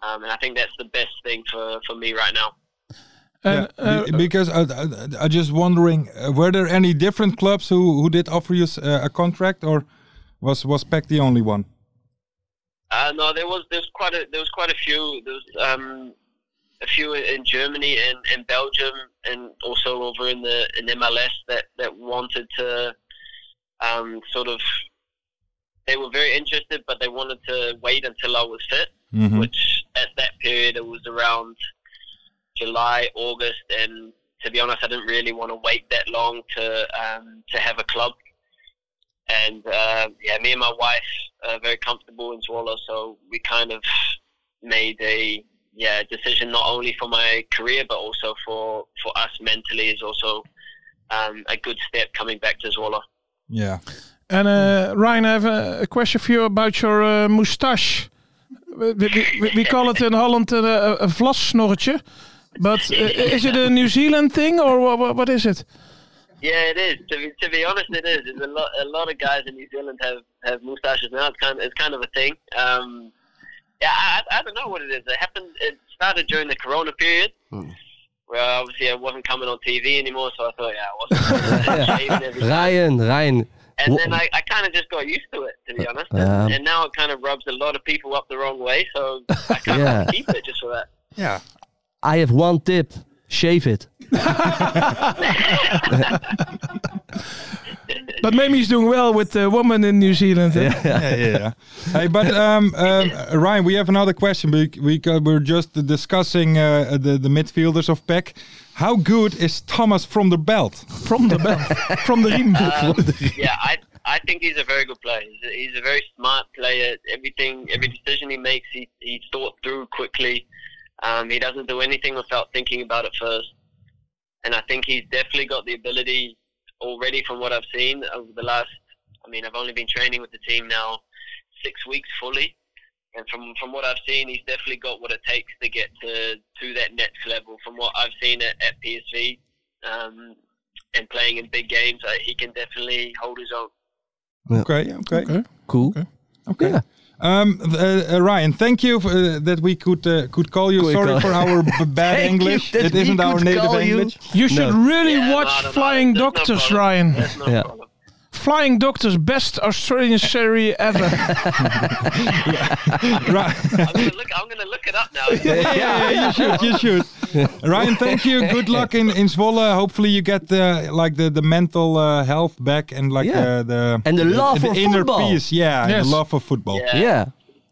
I: Um, and I think that's the best thing for, for me right now.
G: And,
E: yeah,
G: uh,
E: be- because I, I, I just wondering, uh, were there any different clubs who who did offer you s- uh, a contract, or was was PEC the only one?
I: Uh, no, there was there's quite a there was quite a few. There was um, a few in Germany and, and Belgium, and also over in the in MLS that that wanted to um, sort of. They were very interested, but they wanted to wait until I was fit, which at that period it was around July, August, and to be honest, I didn't really want to wait that long to um, to have a club. And uh, yeah, me and my wife are very comfortable in Swallow, so we kind of made a yeah decision not only for my career but also for for us mentally is also um, a good step coming back to Zwolle.
E: Yeah.
G: And uh, Ryan, I have a, a question for you about your uh, moustache. We, we- we- we call it in Holland een, eh, een vlassnorretje. But eh, is it a New Zealand thing or wha- wha- what is it?
I: Yeah, it is. To be, to be honest, it is. There's a lot. A lot of guys in New Zealand have, have moustaches now. It's kind. Of, it's kind of a thing. Um, yeah, I, I I don't know what it is. It happened. It started during the Corona period,
F: Hmm.
I: where obviously I wasn't coming on TV anymore. So I thought, yeah, I wasn't shaving every day.
F: Ryan, Ryan.
I: And
F: Wha-
I: then I, I kind of just got used to it, to be honest. And,
F: Um,
I: and now it kind of rubs a lot of people up the wrong way. So I kind
F: Yeah.
I: of keep it just for that.
F: I have one tip. Shave it.
G: But maybe he's doing well with the woman in New Zealand. eh?
E: yeah, yeah. yeah. Hey, but um, um, Ryan, we have another question. We we uh, were just discussing uh, the the midfielders of PEC. How good is Thomas from the belt?
G: From the belt. From the riem.
I: yeah, I I think he's a very good player. He's a, he's a very smart player. Everything, every decision he makes, he he thought through quickly. Um, he doesn't do anything without thinking about it first. And I think he's definitely got the ability already from what I've seen over the last. I mean, I've only been training with the team now six weeks fully, and from from what I've seen, he's definitely got what it takes to get to to that next level. From what I've seen at, at PSV. Um, and playing in big games, uh, he can definitely hold his own.
E: Okay, okay, okay.
F: Cool. Yeah.
E: Um, th- uh, uh, Ryan, thank you for, uh, that we could uh, could call you.
F: Could
E: Sorry
F: call-
E: for our b- bad
F: Thank
E: English.
F: you that
E: It
F: we
E: isn't our
F: could
E: native
F: call you.
E: English.
G: You should really
I: Yeah,
G: watch
I: no, no, no,
G: Flying
I: there's no
G: Doctors,
I: problem.
G: Ryan.
I: There's no
F: Yeah.
I: problem.
G: Flying Doctors, best Australian serie ever.
E: Ri-
I: I'm gonna look. I'm gonna look it up now.
E: yeah, yeah, you should, you should. Ryan, thank you. Good luck in in Zwolle. Hopefully, you get the like the the mental uh, health back and like
F: Yeah.
E: uh, the
F: And the love
E: the
F: for
E: inner
F: football.
E: peace. Yeah, and
G: Yes.
E: the love for football.
I: Yeah.
F: Yeah.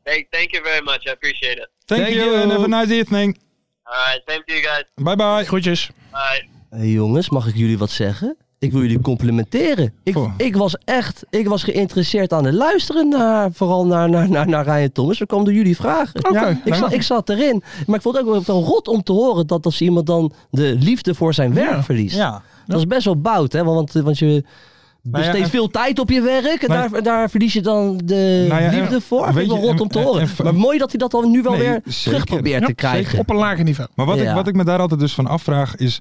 I: Thank, thank you very much. I appreciate it.
E: Thank,
F: Thank
E: you,
F: you.
E: and have a nice evening.
I: All right. Same to you guys.
E: Bye bye.
G: Groetjes.
I: Bye.
F: Hey jongens, mag ik jullie wat zeggen? Ik wil jullie complimenteren. Ik,
E: Oh.
F: ik was echt ik was geïnteresseerd aan het luisteren, naar, vooral naar, naar, naar, naar Ryan Thomas. Er kwamen door jullie vragen.
E: nou
F: ik, zat, ik zat erin. Maar ik vond het ook wel- wel rot om te horen dat als iemand dan de liefde voor zijn werk verliest. Dat is best wel bout, hè? Want, want je besteedt
E: Nou en-
F: veel tijd op je werk en
E: Nou ja.
F: daar, daar verlies je dan de
E: Nou ja, en-
F: liefde voor. Vind
E: weet
F: ik wel
E: je,
F: rot
E: en-
F: om te
E: en-
F: horen.
E: en-
F: maar mooi dat hij dat dan nu wel
E: Nee,
F: weer
E: zeker.
F: terug probeert te
E: Ja,
F: krijgen.
G: Op een lager niveau.
E: Maar wat,
F: Ja.
E: ik, wat ik me daar altijd dus van afvraag is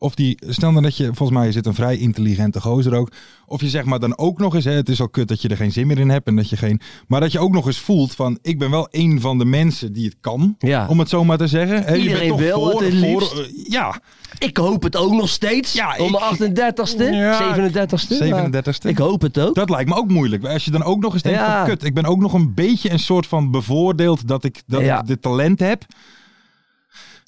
E: of die, stel nou dat je, volgens mij zit een vrij intelligente gozer ook, of je zeg maar dan ook nog eens, hè, het is al kut dat je er geen zin meer in hebt en dat je geen, maar dat je ook nog eens voelt van, ik ben wel een van de mensen die het kan,
F: Ja.
E: om het zo maar te zeggen. Hè, je
F: Iedereen
E: bent toch
F: wil
E: voor,
F: het het
E: voor-
F: liefst.
E: eh, ja,
F: Ik hoop het ook nog steeds.
E: Ja,
F: om
E: ik-
F: mijn 38ste,
G: Ja,
F: 37ste. maar
E: 37ste.
F: Ik hoop het ook.
E: Dat lijkt me ook moeilijk. Als je dan ook nog eens denkt
F: Ja.
E: van, kut, ik ben ook nog een beetje een soort van bevoordeeld dat ik dat
F: Ja.
E: ik dit talent heb.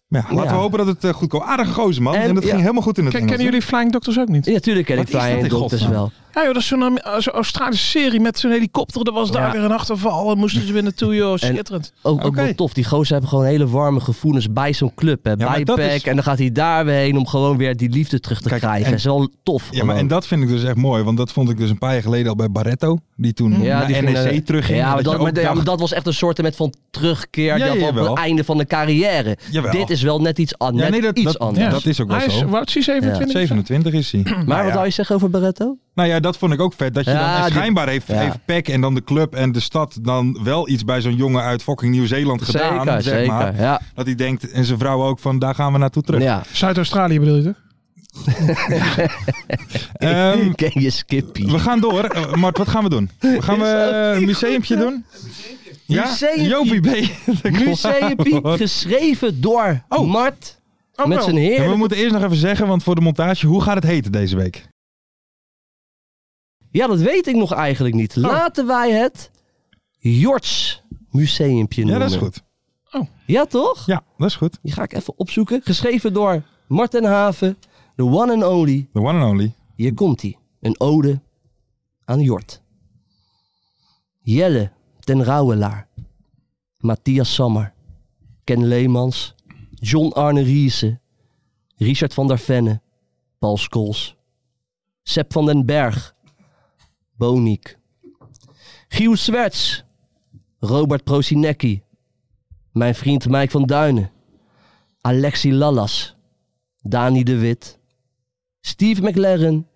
E: Maar ja, laten
F: Ja.
E: we hopen dat het eh, goed komt. Aardige gozer, man.
F: En-
E: En, dat
F: ja.
E: ging helemaal goed in het
G: Ken-
E: Engels,
G: Kennen
E: hè?
G: jullie Flying Doctors ook niet?
F: Ja, natuurlijk ken ik
E: Wat is
F: Brian
E: dat in
F: Doctors
E: godsnaam?
F: wel.
G: Ja, joh, dat is zo'n Am- eh, zo'n Australische serie met zo'n helikopter. Er was daar
F: Ja.
G: weer een achterval en moesten ze weer naartoe, joh. Schitterend.
F: Ook, ook
E: Oké.
F: wel tof. Die gozer hebben gewoon hele warme gevoelens bij zo'n club. Hè.
E: Ja,
F: bij
E: maar dat
F: PEC.
E: is-
F: En dan gaat hij daar weer heen om gewoon weer die liefde terug te
E: Kijk,
F: krijgen.
E: en-
F: Dat is wel tof.
E: Ja, maar en dat vind ik dus echt mooi, want dat vond ik dus een paar jaar geleden al bij Barretto, die toen naar E
F: die
E: NEC
F: vrienden-
E: terugging.
F: Ja, maar
E: je
F: dat,
E: ook
F: maar, ja, maar
E: dacht-
F: dat was echt een soort met van terugkeer.
E: Ja,
F: die had op
E: jawel.
F: het einde van de carrière.
E: Jawel.
F: Dit is wel net iets, an
E: Ja,
F: net
E: nee, dat-
F: iets
E: dat-
F: anders.
E: ja. dat is ook wel
G: Hij is,
E: zo.
G: hoe oud is hij? 27?
E: 27 is hij.
F: Maar wat wou je zeggen over Barretto?
E: Nou ja, dat vond ik ook vet. Dat je
F: Ja,
E: dan en
F: die-
E: schijnbaar heeft,
F: ja.
E: heeft PEC en dan de club en de stad dan wel iets bij zo'n jongen uit fucking Nieuw-Zeeland gedaan.
F: zeker,
E: zeg
F: zeker.
E: maar.
F: Ja.
E: Dat hij denkt, en zijn vrouw ook, van daar gaan we naartoe terug.
F: ja.
G: Zuid-Australië bedoel je, toch?
E: Ehm,
F: Ken je Skippy?
E: we gaan door. Eh, Mart, wat gaan we doen? We gaan we eh, een museumpje doen? Ja?
F: Museumpje.
E: Jopie B. Dat klopt.
F: Museumpie, geschreven door
E: Oh.
F: Mart. met
G: wel.
F: zijn
E: Ja,
F: heer.
E: we moeten eerst nog even zeggen, want voor de montage, hoe gaat het heten deze week?
F: Ja, dat weet ik nog
E: Oh.
F: eigenlijk niet. Laten wij het Jorts Museumpje
E: Ja,
F: noemen.
E: dat is goed.
G: Oh.
F: Ja, toch?
E: Ja, dat is goed.
F: Die ga ik even opzoeken. Geschreven door Martin Haven, de one and only.
E: The one and only.
F: Hier komt hij. Een ode aan Jort. Jelle ten Rauwelaar. Matthias Sammer. Ken Leemans. John Arne Riese. Richard van der Venne. Paul Scholes. Sepp van den Berg. Boniek. Giel Swerts. Robert Prosinecki. Mijn vriend Mike van Duinen. Alexi Lallas. Dani de Wit. Steve McLaren,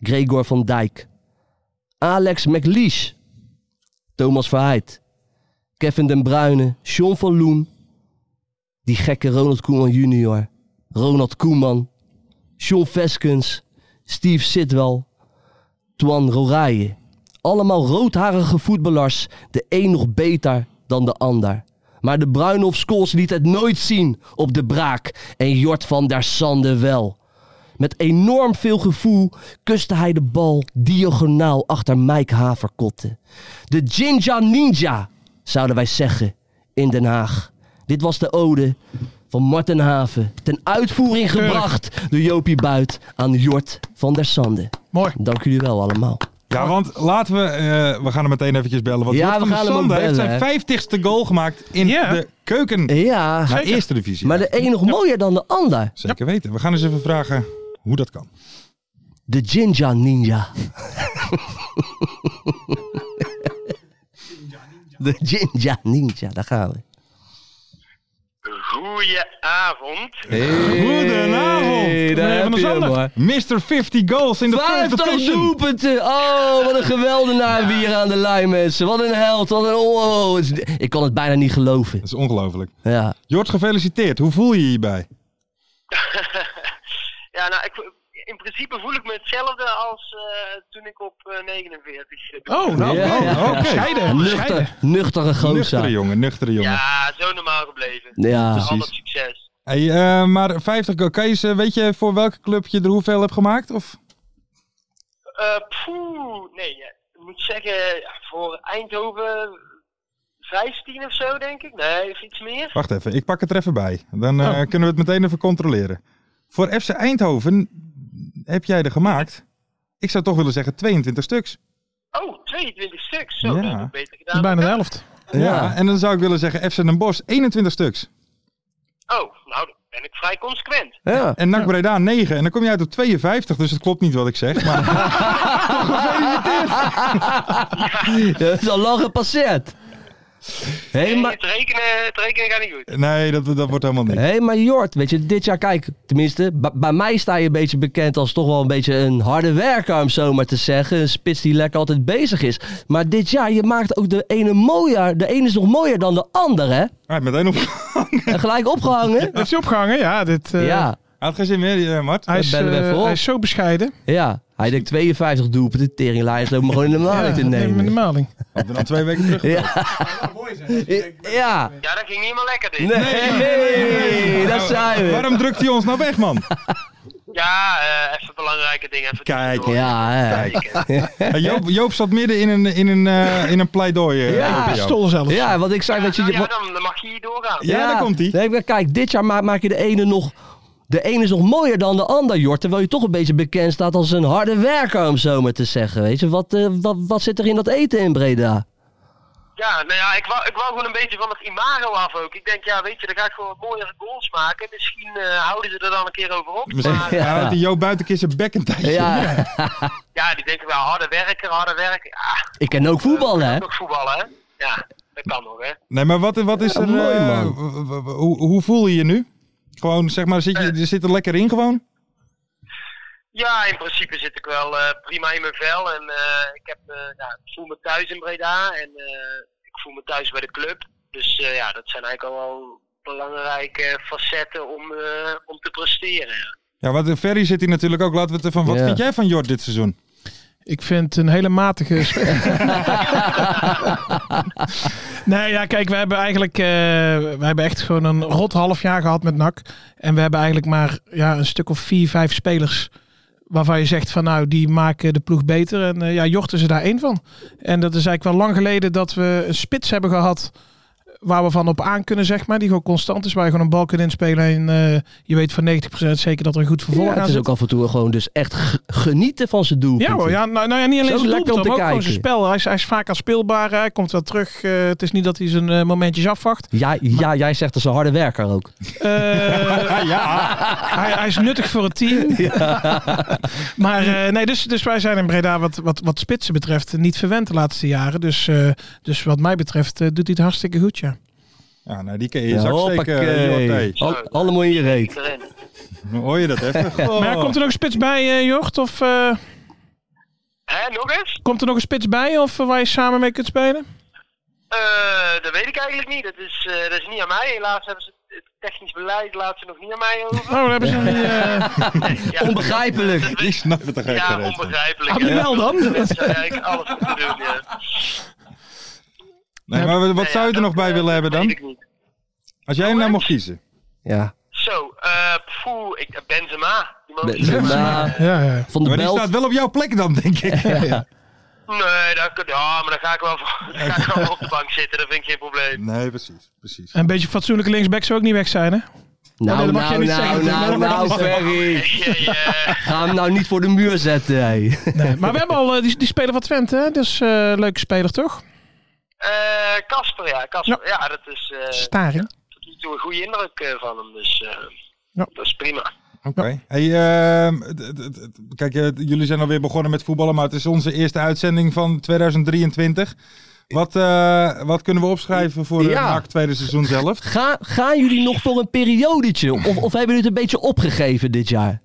F: Gregor van Dijk, Alex McLeish, Thomas Verheid, Kevin den Bruyne, Sean van Loen, die gekke Ronald Koeman junior, Ronald Koeman, Sean Veskens, Steve Sidwell, Twan Roraye. Allemaal roodharige voetballers, de een nog beter dan de ander. Maar de Bruyne of Scholes liet het nooit zien op de braak en Jort van der Sande wel. Met enorm veel gevoel kuste hij de bal diagonaal achter Mike Haverkotte. De Jinja Ninja, zouden wij zeggen, in Den Haag. Dit was de ode van Marten Haven. Ten uitvoering gebracht door Jopie Buit aan Jort van der Sande.
G: Mooi.
F: Dank jullie wel allemaal.
E: Ja, want laten we... eh, we gaan hem meteen eventjes bellen. Want
F: Ja,
E: Jort
F: we
E: van der
F: gaan hem ook
E: Sande heeft
F: bellen,
E: zijn vijftigste goal gemaakt in
G: Ja.
E: de keuken.
F: Ja,
E: Naar eerste divisie.
F: maar de een nog mooier dan de ander.
E: Zeker weten. We gaan eens even vragen hoe dat kan.
F: De Jinja Ninja. De Jinja Ninja, daar gaan we.
I: Goedenavond.
E: Goedenavond.
F: daar
E: Meneer
F: heb
E: der
F: je hem,
E: Sander. Mr. 50 goals in de first
F: 50
E: division.
F: doelpunten! Oh, wat een geweldenaar hier aan de lijn, mensen. Wat een held, wat een... Oh, het is- ik kan het bijna niet geloven.
E: Dat is ongelooflijk.
F: Ja.
E: Jort, gefeliciteerd. Hoe voel je je hierbij?
I: ja, nou, ik, in principe voel ik me hetzelfde als eh, toen ik op eh, 49 zit.
G: Oh, nou,
F: Ja.
G: oh, oké. Scheiden, scheiden.
F: Nuchter, nuchtere
E: Nuchtere
F: gozer.
E: jongen, nuchtere jongen.
I: Ja, zo normaal gebleven.
F: Ja.
I: Al dat succes.
E: Hey, eh, maar 50 goals. Kan je eens, eh, weet je voor welke club je er hoeveel hebt gemaakt? Of?
I: Eh poeh, nee, ja, ik moet zeggen, ja, voor Eindhoven 15 of zo, denk ik. Nee, of iets meer.
E: Wacht even, ik pak het er even bij. Dan
G: Oh.
E: eh, kunnen we het meteen even controleren. Voor FC Eindhoven heb jij er gemaakt. Ik zou toch willen zeggen 22 stuks.
I: Oh, 22 stuks. Zo,
E: Ja.
I: dat heb ik beter
G: Dat is
I: gedaan.
G: bijna de helft.
E: Ja. En dan zou ik willen zeggen FC Den Bosch 21 stuks.
I: Oh, nou, dan ben ik vrij consequent.
F: ja.
E: En NAC Breda 9. En dan kom je uit op 52, dus het klopt niet wat ik zeg. Maar
F: Dat is al lang gepasseerd. Hé,
I: Nee,
F: hey, maar...
I: het, rekenen, het rekenen gaat niet goed.
E: nee, dat, dat wordt helemaal niet.
F: Hé, maar Jort, weet je, dit jaar, kijk, tenminste, ba- bij mij sta je een beetje bekend als toch wel een beetje een harde werker, om zo maar te zeggen. Een spits die lekker altijd bezig is. Maar dit jaar, je maakt ook de ene mooier, de ene is nog mooier dan de andere, hè?
E: Hij heeft meteen op.
F: En gelijk opgehangen.
G: Heeft hij opgehangen? Ja, dit... eh,
F: Ja,
E: Hij had geen zin meer, eh, Mart.
G: Hij is,
F: bellen we
G: eh,
F: even op.
G: hij is zo bescheiden.
F: ja. Hij denkt 52 doelpunten, teringlaaiers loopt me gewoon in de maling te
G: dat neem ik in de
F: nemen.
G: maling.
E: Hadden we al twee weken terug.
F: Ja,
I: Ja, dat ging niet helemaal lekker dit.
F: nee, dat zijn we.
E: Nou, Waarom drukt hij ons nou weg, man?
I: Ja, eh, even belangrijke dingen. Even
E: Kijk,
I: tussendoor.
F: Ja, hè.
E: Eh, Joop, Joop zat midden in een, in een, eh, in een pleidooi. eh,
F: Ja.
E: over jou.
G: Pistool zelfs.
F: ja, want ik zei dat je...
I: Nou,
F: je-
I: ja, dan, dan mag je hier doorgaan.
E: Ja, daar komt-ie.
F: Nee, maar kijk, dit jaar ma- maak je de ene nog... De ene is nog mooier dan de ander, Jort. Terwijl je toch een beetje bekend staat als een harde werker, om zo maar te zeggen. Weet je, wat, eh, wat, wat zit er in dat eten in Breda?
I: Ja, nou ja, ik wou, ik wou gewoon een beetje van het imago af ook. Ik denk, ja, weet je, dan ga ik gewoon wat mooiere goals maken. Misschien eh, houden ze er dan een keer over op.
E: Misschien
I: Maar
F: Ja.
E: ja. houdt die Joop buitenkist zijn bek een tijdje.
F: Ja,
I: ja, die denken wel, harde werken, harde werken. Ja,
F: ik ken ook voetbal, hè?
I: ook voetballen, hè? Ja, dat kan nog, hè?
E: Nee, maar wat, wat is er...
F: mooi,
E: eh,
F: man.
E: w- w- w- hoe, hoe voel je je nu? Gewoon, zeg maar, zit je, je zit er lekker in gewoon?
I: Ja, in principe zit ik wel eh, prima in mijn vel. En eh, ik, heb, eh, ja, ik voel me thuis in Breda. En eh, ik voel me thuis bij de club. Dus eh, ja, dat zijn eigenlijk al wel belangrijke facetten om, eh, om te presteren. ja.
E: Ja, want eh, Ferry zit hier natuurlijk ook. Laten we het ervan... Wat
F: Ja.
E: vind jij van Jort dit seizoen?
G: Ik vind een hele matige speler. nee, ja, kijk, we hebben eigenlijk eh, we hebben echt gewoon een rot half jaar gehad met NAC. En we hebben eigenlijk maar ja, een stuk of vier, vijf spelers waarvan je zegt van nou, die maken de ploeg beter. En eh, ja, Jort is er daar één van. En dat is eigenlijk wel lang geleden dat we een spits hebben gehad waar we van op aan kunnen, zeg maar. Die gewoon constant is, waar je gewoon een bal kunt inspelen. En eh, je weet van 90% zeker dat er een goed vervolg
F: Ja,
G: aan
F: het is
G: zit.
F: ook af en toe gewoon dus echt g- genieten van zijn doel.
G: Ja hoor, ja, nou, nou ja, niet alleen
F: Zo
G: zijn
F: lekker
G: doelpunt,
F: om
G: maar ook
F: te
G: gewoon zijn
F: kijken.
G: spel. Hij is, hij is vaak aan speelbaar, hij komt wel terug. Eh, het is niet dat hij zijn eh, momentjes afwacht.
F: Ja, ja, jij zegt dat ze harde werker ook.
G: Eh, hij, hij is nuttig voor het team. maar eh, nee, dus, dus wij zijn in Breda wat, wat, wat spitsen betreft niet verwend de laatste jaren. Dus, eh, dus wat mij betreft eh, doet hij het hartstikke goed, ja.
E: Ja, nou die kun je in je zak steken. eh, Jort,
F: Al- Allemaal in je reet.
I: Erin.
E: hey. Hoor je dat even? Goh.
G: Maar ja, komt er nog een spits bij, eh, Jort? Of eh,
I: Hè, nog eens?
G: komt er nog een spits bij of eh, waar je samen mee kunt spelen?
I: Eh, dat weet ik eigenlijk niet. Dat is, eh, dat is niet aan mij. Helaas hebben ze het technisch beleid laat ze nog niet aan mij over.
G: Oh, daar hebben ze een... eh,
I: Ja,
F: Onbegrijpelijk.
E: Ik snap het toch echt
I: ja
E: gereed, man.
I: onbegrijpelijk.
G: Ah,
I: hè.
G: wel dan.
I: Dat zou je eigenlijk alles moeten doen. Ja.
E: Nee, maar wat zou je er nog bij willen hebben
I: eh, Weet
E: dan?
I: ik niet.
E: Als jij hem nou mocht kiezen.
F: Ja.
I: Zo, eh poeh, ik, Benzema. Die man-
F: Benzema,
G: ja, ja.
F: Van de
E: Maar die
F: Belt.
E: staat wel op jouw plek dan, denk ik.
I: Nee, dan, kun- ja, maar dan ga ik wel, voor- dan ga ik wel op de bank zitten. Dat vind ik geen probleem.
E: Nee, precies. precies.
G: Een beetje fatsoenlijke linksback zou ook niet weg zijn, hè?
F: Nou,
G: nee, dat mag
F: nou,
G: jij niet
F: nou,
G: zeggen,
F: nou,
G: natuurlijk, maar
F: nou,
G: dat mag
F: Ferry.
I: Ja, ja.
F: Ga hem nou niet voor de muur zetten, hé.
G: Nee, maar we hebben al eh, die, die speler van Twente, hè? Dus eh leuke speler, toch?
I: Eh, Casper, ja. Casper, ja. dat is eh,
G: Staring.
I: tot nu toe een goede indruk eh, van hem. Dus eh,
G: Ja.
I: dat is prima.
E: Oké. Hey, ehm, het- het- het- het- kijk, eh, jullie zijn alweer begonnen met voetballen, maar het is onze eerste uitzending van 2023. Wat, eh, wat kunnen we opschrijven voor eh, het
F: Ja.
E: NAC tweede seizoen zelf?
F: Ga, gaan jullie nog voor een periodetje? Of, of hebben jullie het een beetje opgegeven dit jaar?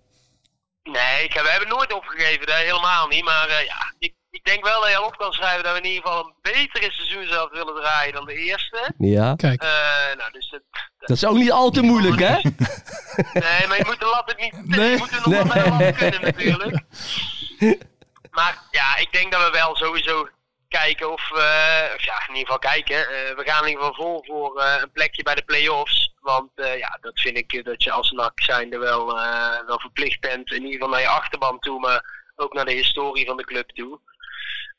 I: Nee, ik, we hebben nooit opgegeven, dat helemaal niet. Maar eh, ja, ik, ik denk wel dat je al op kan schrijven dat we in ieder geval een betere seizoen zelf willen draaien dan de eerste.
F: Ja.
G: Kijk.
I: Eh, nou, dus dat,
F: Dat is ook niet al te moeilijk, hè?
I: nee, maar je moet de lat het niet.
F: Nee.
I: je moet er nog wel bij laten kunnen natuurlijk. Maar ja, ik denk dat we wel sowieso kijken of, eh, of ja, in ieder geval kijken. Eh, we gaan in ieder geval vol voor eh, een plekje bij de play-offs. Want eh, ja, dat vind ik eh, dat je als NAC zijnde wel, eh, wel verplicht bent. In ieder geval naar je achterban toe, maar ook naar de historie van de club toe.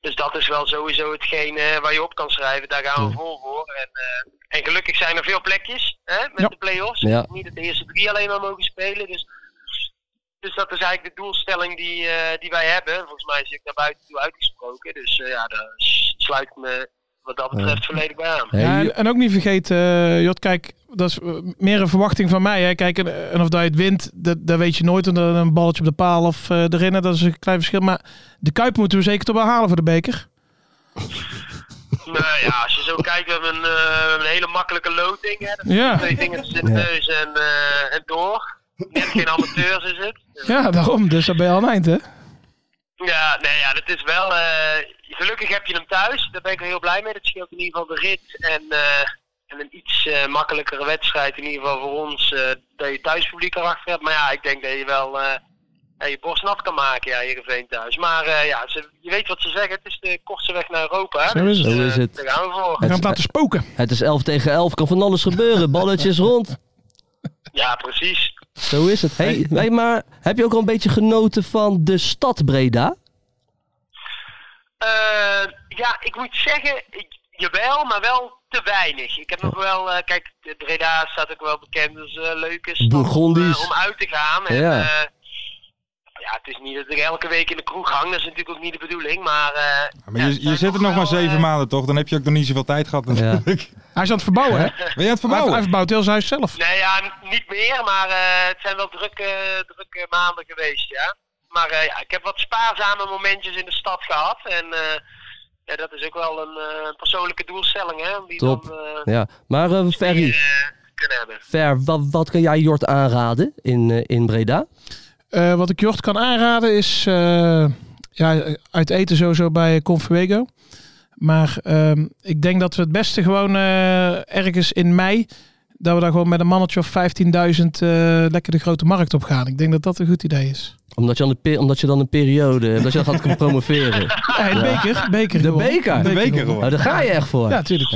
I: Dus dat is wel sowieso hetgeen eh, waar je op kan schrijven. Daar gaan we vol voor. En, eh, en gelukkig zijn er veel plekjes hè, met
G: Ja.
I: de play-offs.
F: Ja.
I: Niet dat de eerste drie alleen maar mogen spelen. Dus, dus dat is eigenlijk de doelstelling die, eh, die wij hebben. Volgens mij is ik naar buiten toe uitgesproken. Dus eh, ja, daar s- sluit ik me wat dat betreft volledig bij aan.
F: Hey,
G: Ja, en, en ook niet vergeten, eh, Jot, kijk, dat is eh, meer een verwachting van mij. Hè. Kijk, en, en of dat je het wint, dat, dat weet je nooit. En dan een balletje op de paal of eh erin, hè, dat is een klein verschil. Maar de Kuip moeten we zeker toch wel halen voor de beker.
I: Nou ja, als je zo kijkt, we hebben een, eh, we hebben een hele makkelijke loting. Hè. Dat
G: Ja.
I: Twee vingers in de neus en, eh, en door. Net geen amateurs is het.
G: Ja, daarom. Dus dat ben je al aan het eind, hè?
I: Ja, nee, ja, dat is wel. eh, gelukkig heb je hem thuis. Daar ben ik wel heel blij mee. Dat scheelt in ieder geval de rit. En, eh, en een iets eh, makkelijkere wedstrijd, in ieder geval voor ons, eh, dat je thuispubliek erachter hebt. Maar ja, ik denk dat je wel eh, ja, je borst nat kan maken, ja, Heerenveen thuis. Maar eh, ja, ze, je weet wat ze zeggen. Het is de kortste weg naar Europa. Hè?
G: Zo is het.
I: Dus,
F: Zo
I: eh,
F: is het.
I: Daar gaan we voor.
G: We gaan het laten spoken.
F: Het is 11 tegen 11, kan van alles gebeuren. Balletjes rond.
I: Ja, precies.
F: Zo is het. Hey, hey, maar heb je ook al een beetje genoten van de stad Breda?
I: Eh, ja, ik moet zeggen, ik- jawel, maar wel te weinig. Ik heb
F: Oh.
I: nog wel, eh, kijk, de Breda staat ook wel bekend als eh leuke stad om,
F: Bourgondisch.
I: eh, om uit te gaan. En,
F: Ja.
I: eh, ja, het is niet dat ik elke week in de kroeg hang, dat is natuurlijk ook niet de bedoeling, maar... eh,
E: Maar
I: ja,
E: je,
I: het
E: je
I: zijn
E: zit er nog maar
I: wel,
E: zeven
I: eh,
E: maanden toch? Dan heb je ook nog niet zoveel tijd gehad natuurlijk.
G: Hij is aan het verbouwen, hè? Hij,
E: Ben je aan het verbouwen?
G: hij verbouwt heel zijn huis zelf.
I: Nee, ja, n- niet meer, maar eh, het zijn wel drukke, drukke maanden geweest, ja. Maar eh, ja, ik heb wat spaarzame momentjes in de stad gehad en... eh, ja, dat is ook wel een eh, persoonlijke doelstelling, hè? Om die
F: Top.
I: dan eh,
F: Ja. Maar eh, Ferry,
I: eh, kunnen hebben.
F: Fer, wat, wat kan jij Jort aanraden in, eh, in Breda?
G: Eh, wat ik Jort kan aanraden is eh, ja, uit eten sowieso bij Confuego. Maar ehm, ik denk dat we het beste gewoon eh, ergens in mei... dat we daar gewoon met een mannetje of 15.000 eh, lekker de grote markt op gaan. Ik denk dat dat een goed idee is.
F: Omdat je, aan de pe- omdat je dan een periode, omdat je dan gaat promoveren.
G: Hey, de beker. beker
F: De
G: gewonnen.
F: beker?
E: De beker
F: Nou,
E: gewoon.
G: gewonnen.
F: daar ga je echt voor.
G: Ja, natuurlijk.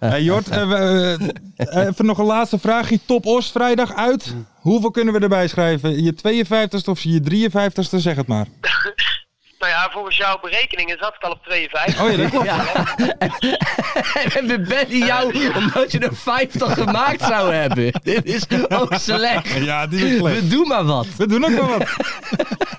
E: Hey, Jort, eh, we- eh, even nog een laatste vraagje. Top Os vrijdag uit. Hoeveel kunnen we erbij schrijven? Je 52ste of je 53ste? Zeg het maar.
I: Nou nou ja, volgens jouw berekeningen zat ik al op 52.
E: Oh ja, dat klopt.
F: En we bellen jou omdat je er 50 gemaakt zou hebben. Dit is ook slecht.
E: Ja, dit is ook slecht.
F: We doen maar wat.
E: We doen ook wel wat.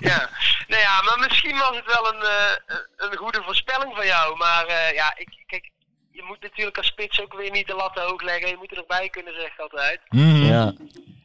I: Ja. Nou ja, maar misschien was het wel een, eh, een goede voorspelling van jou. Maar eh, ja, ik, kijk, je moet natuurlijk als spits ook weer niet de lat te hoog leggen. Je moet er nog bij kunnen, zeg ik altijd.
E: Mhm.
F: Ja.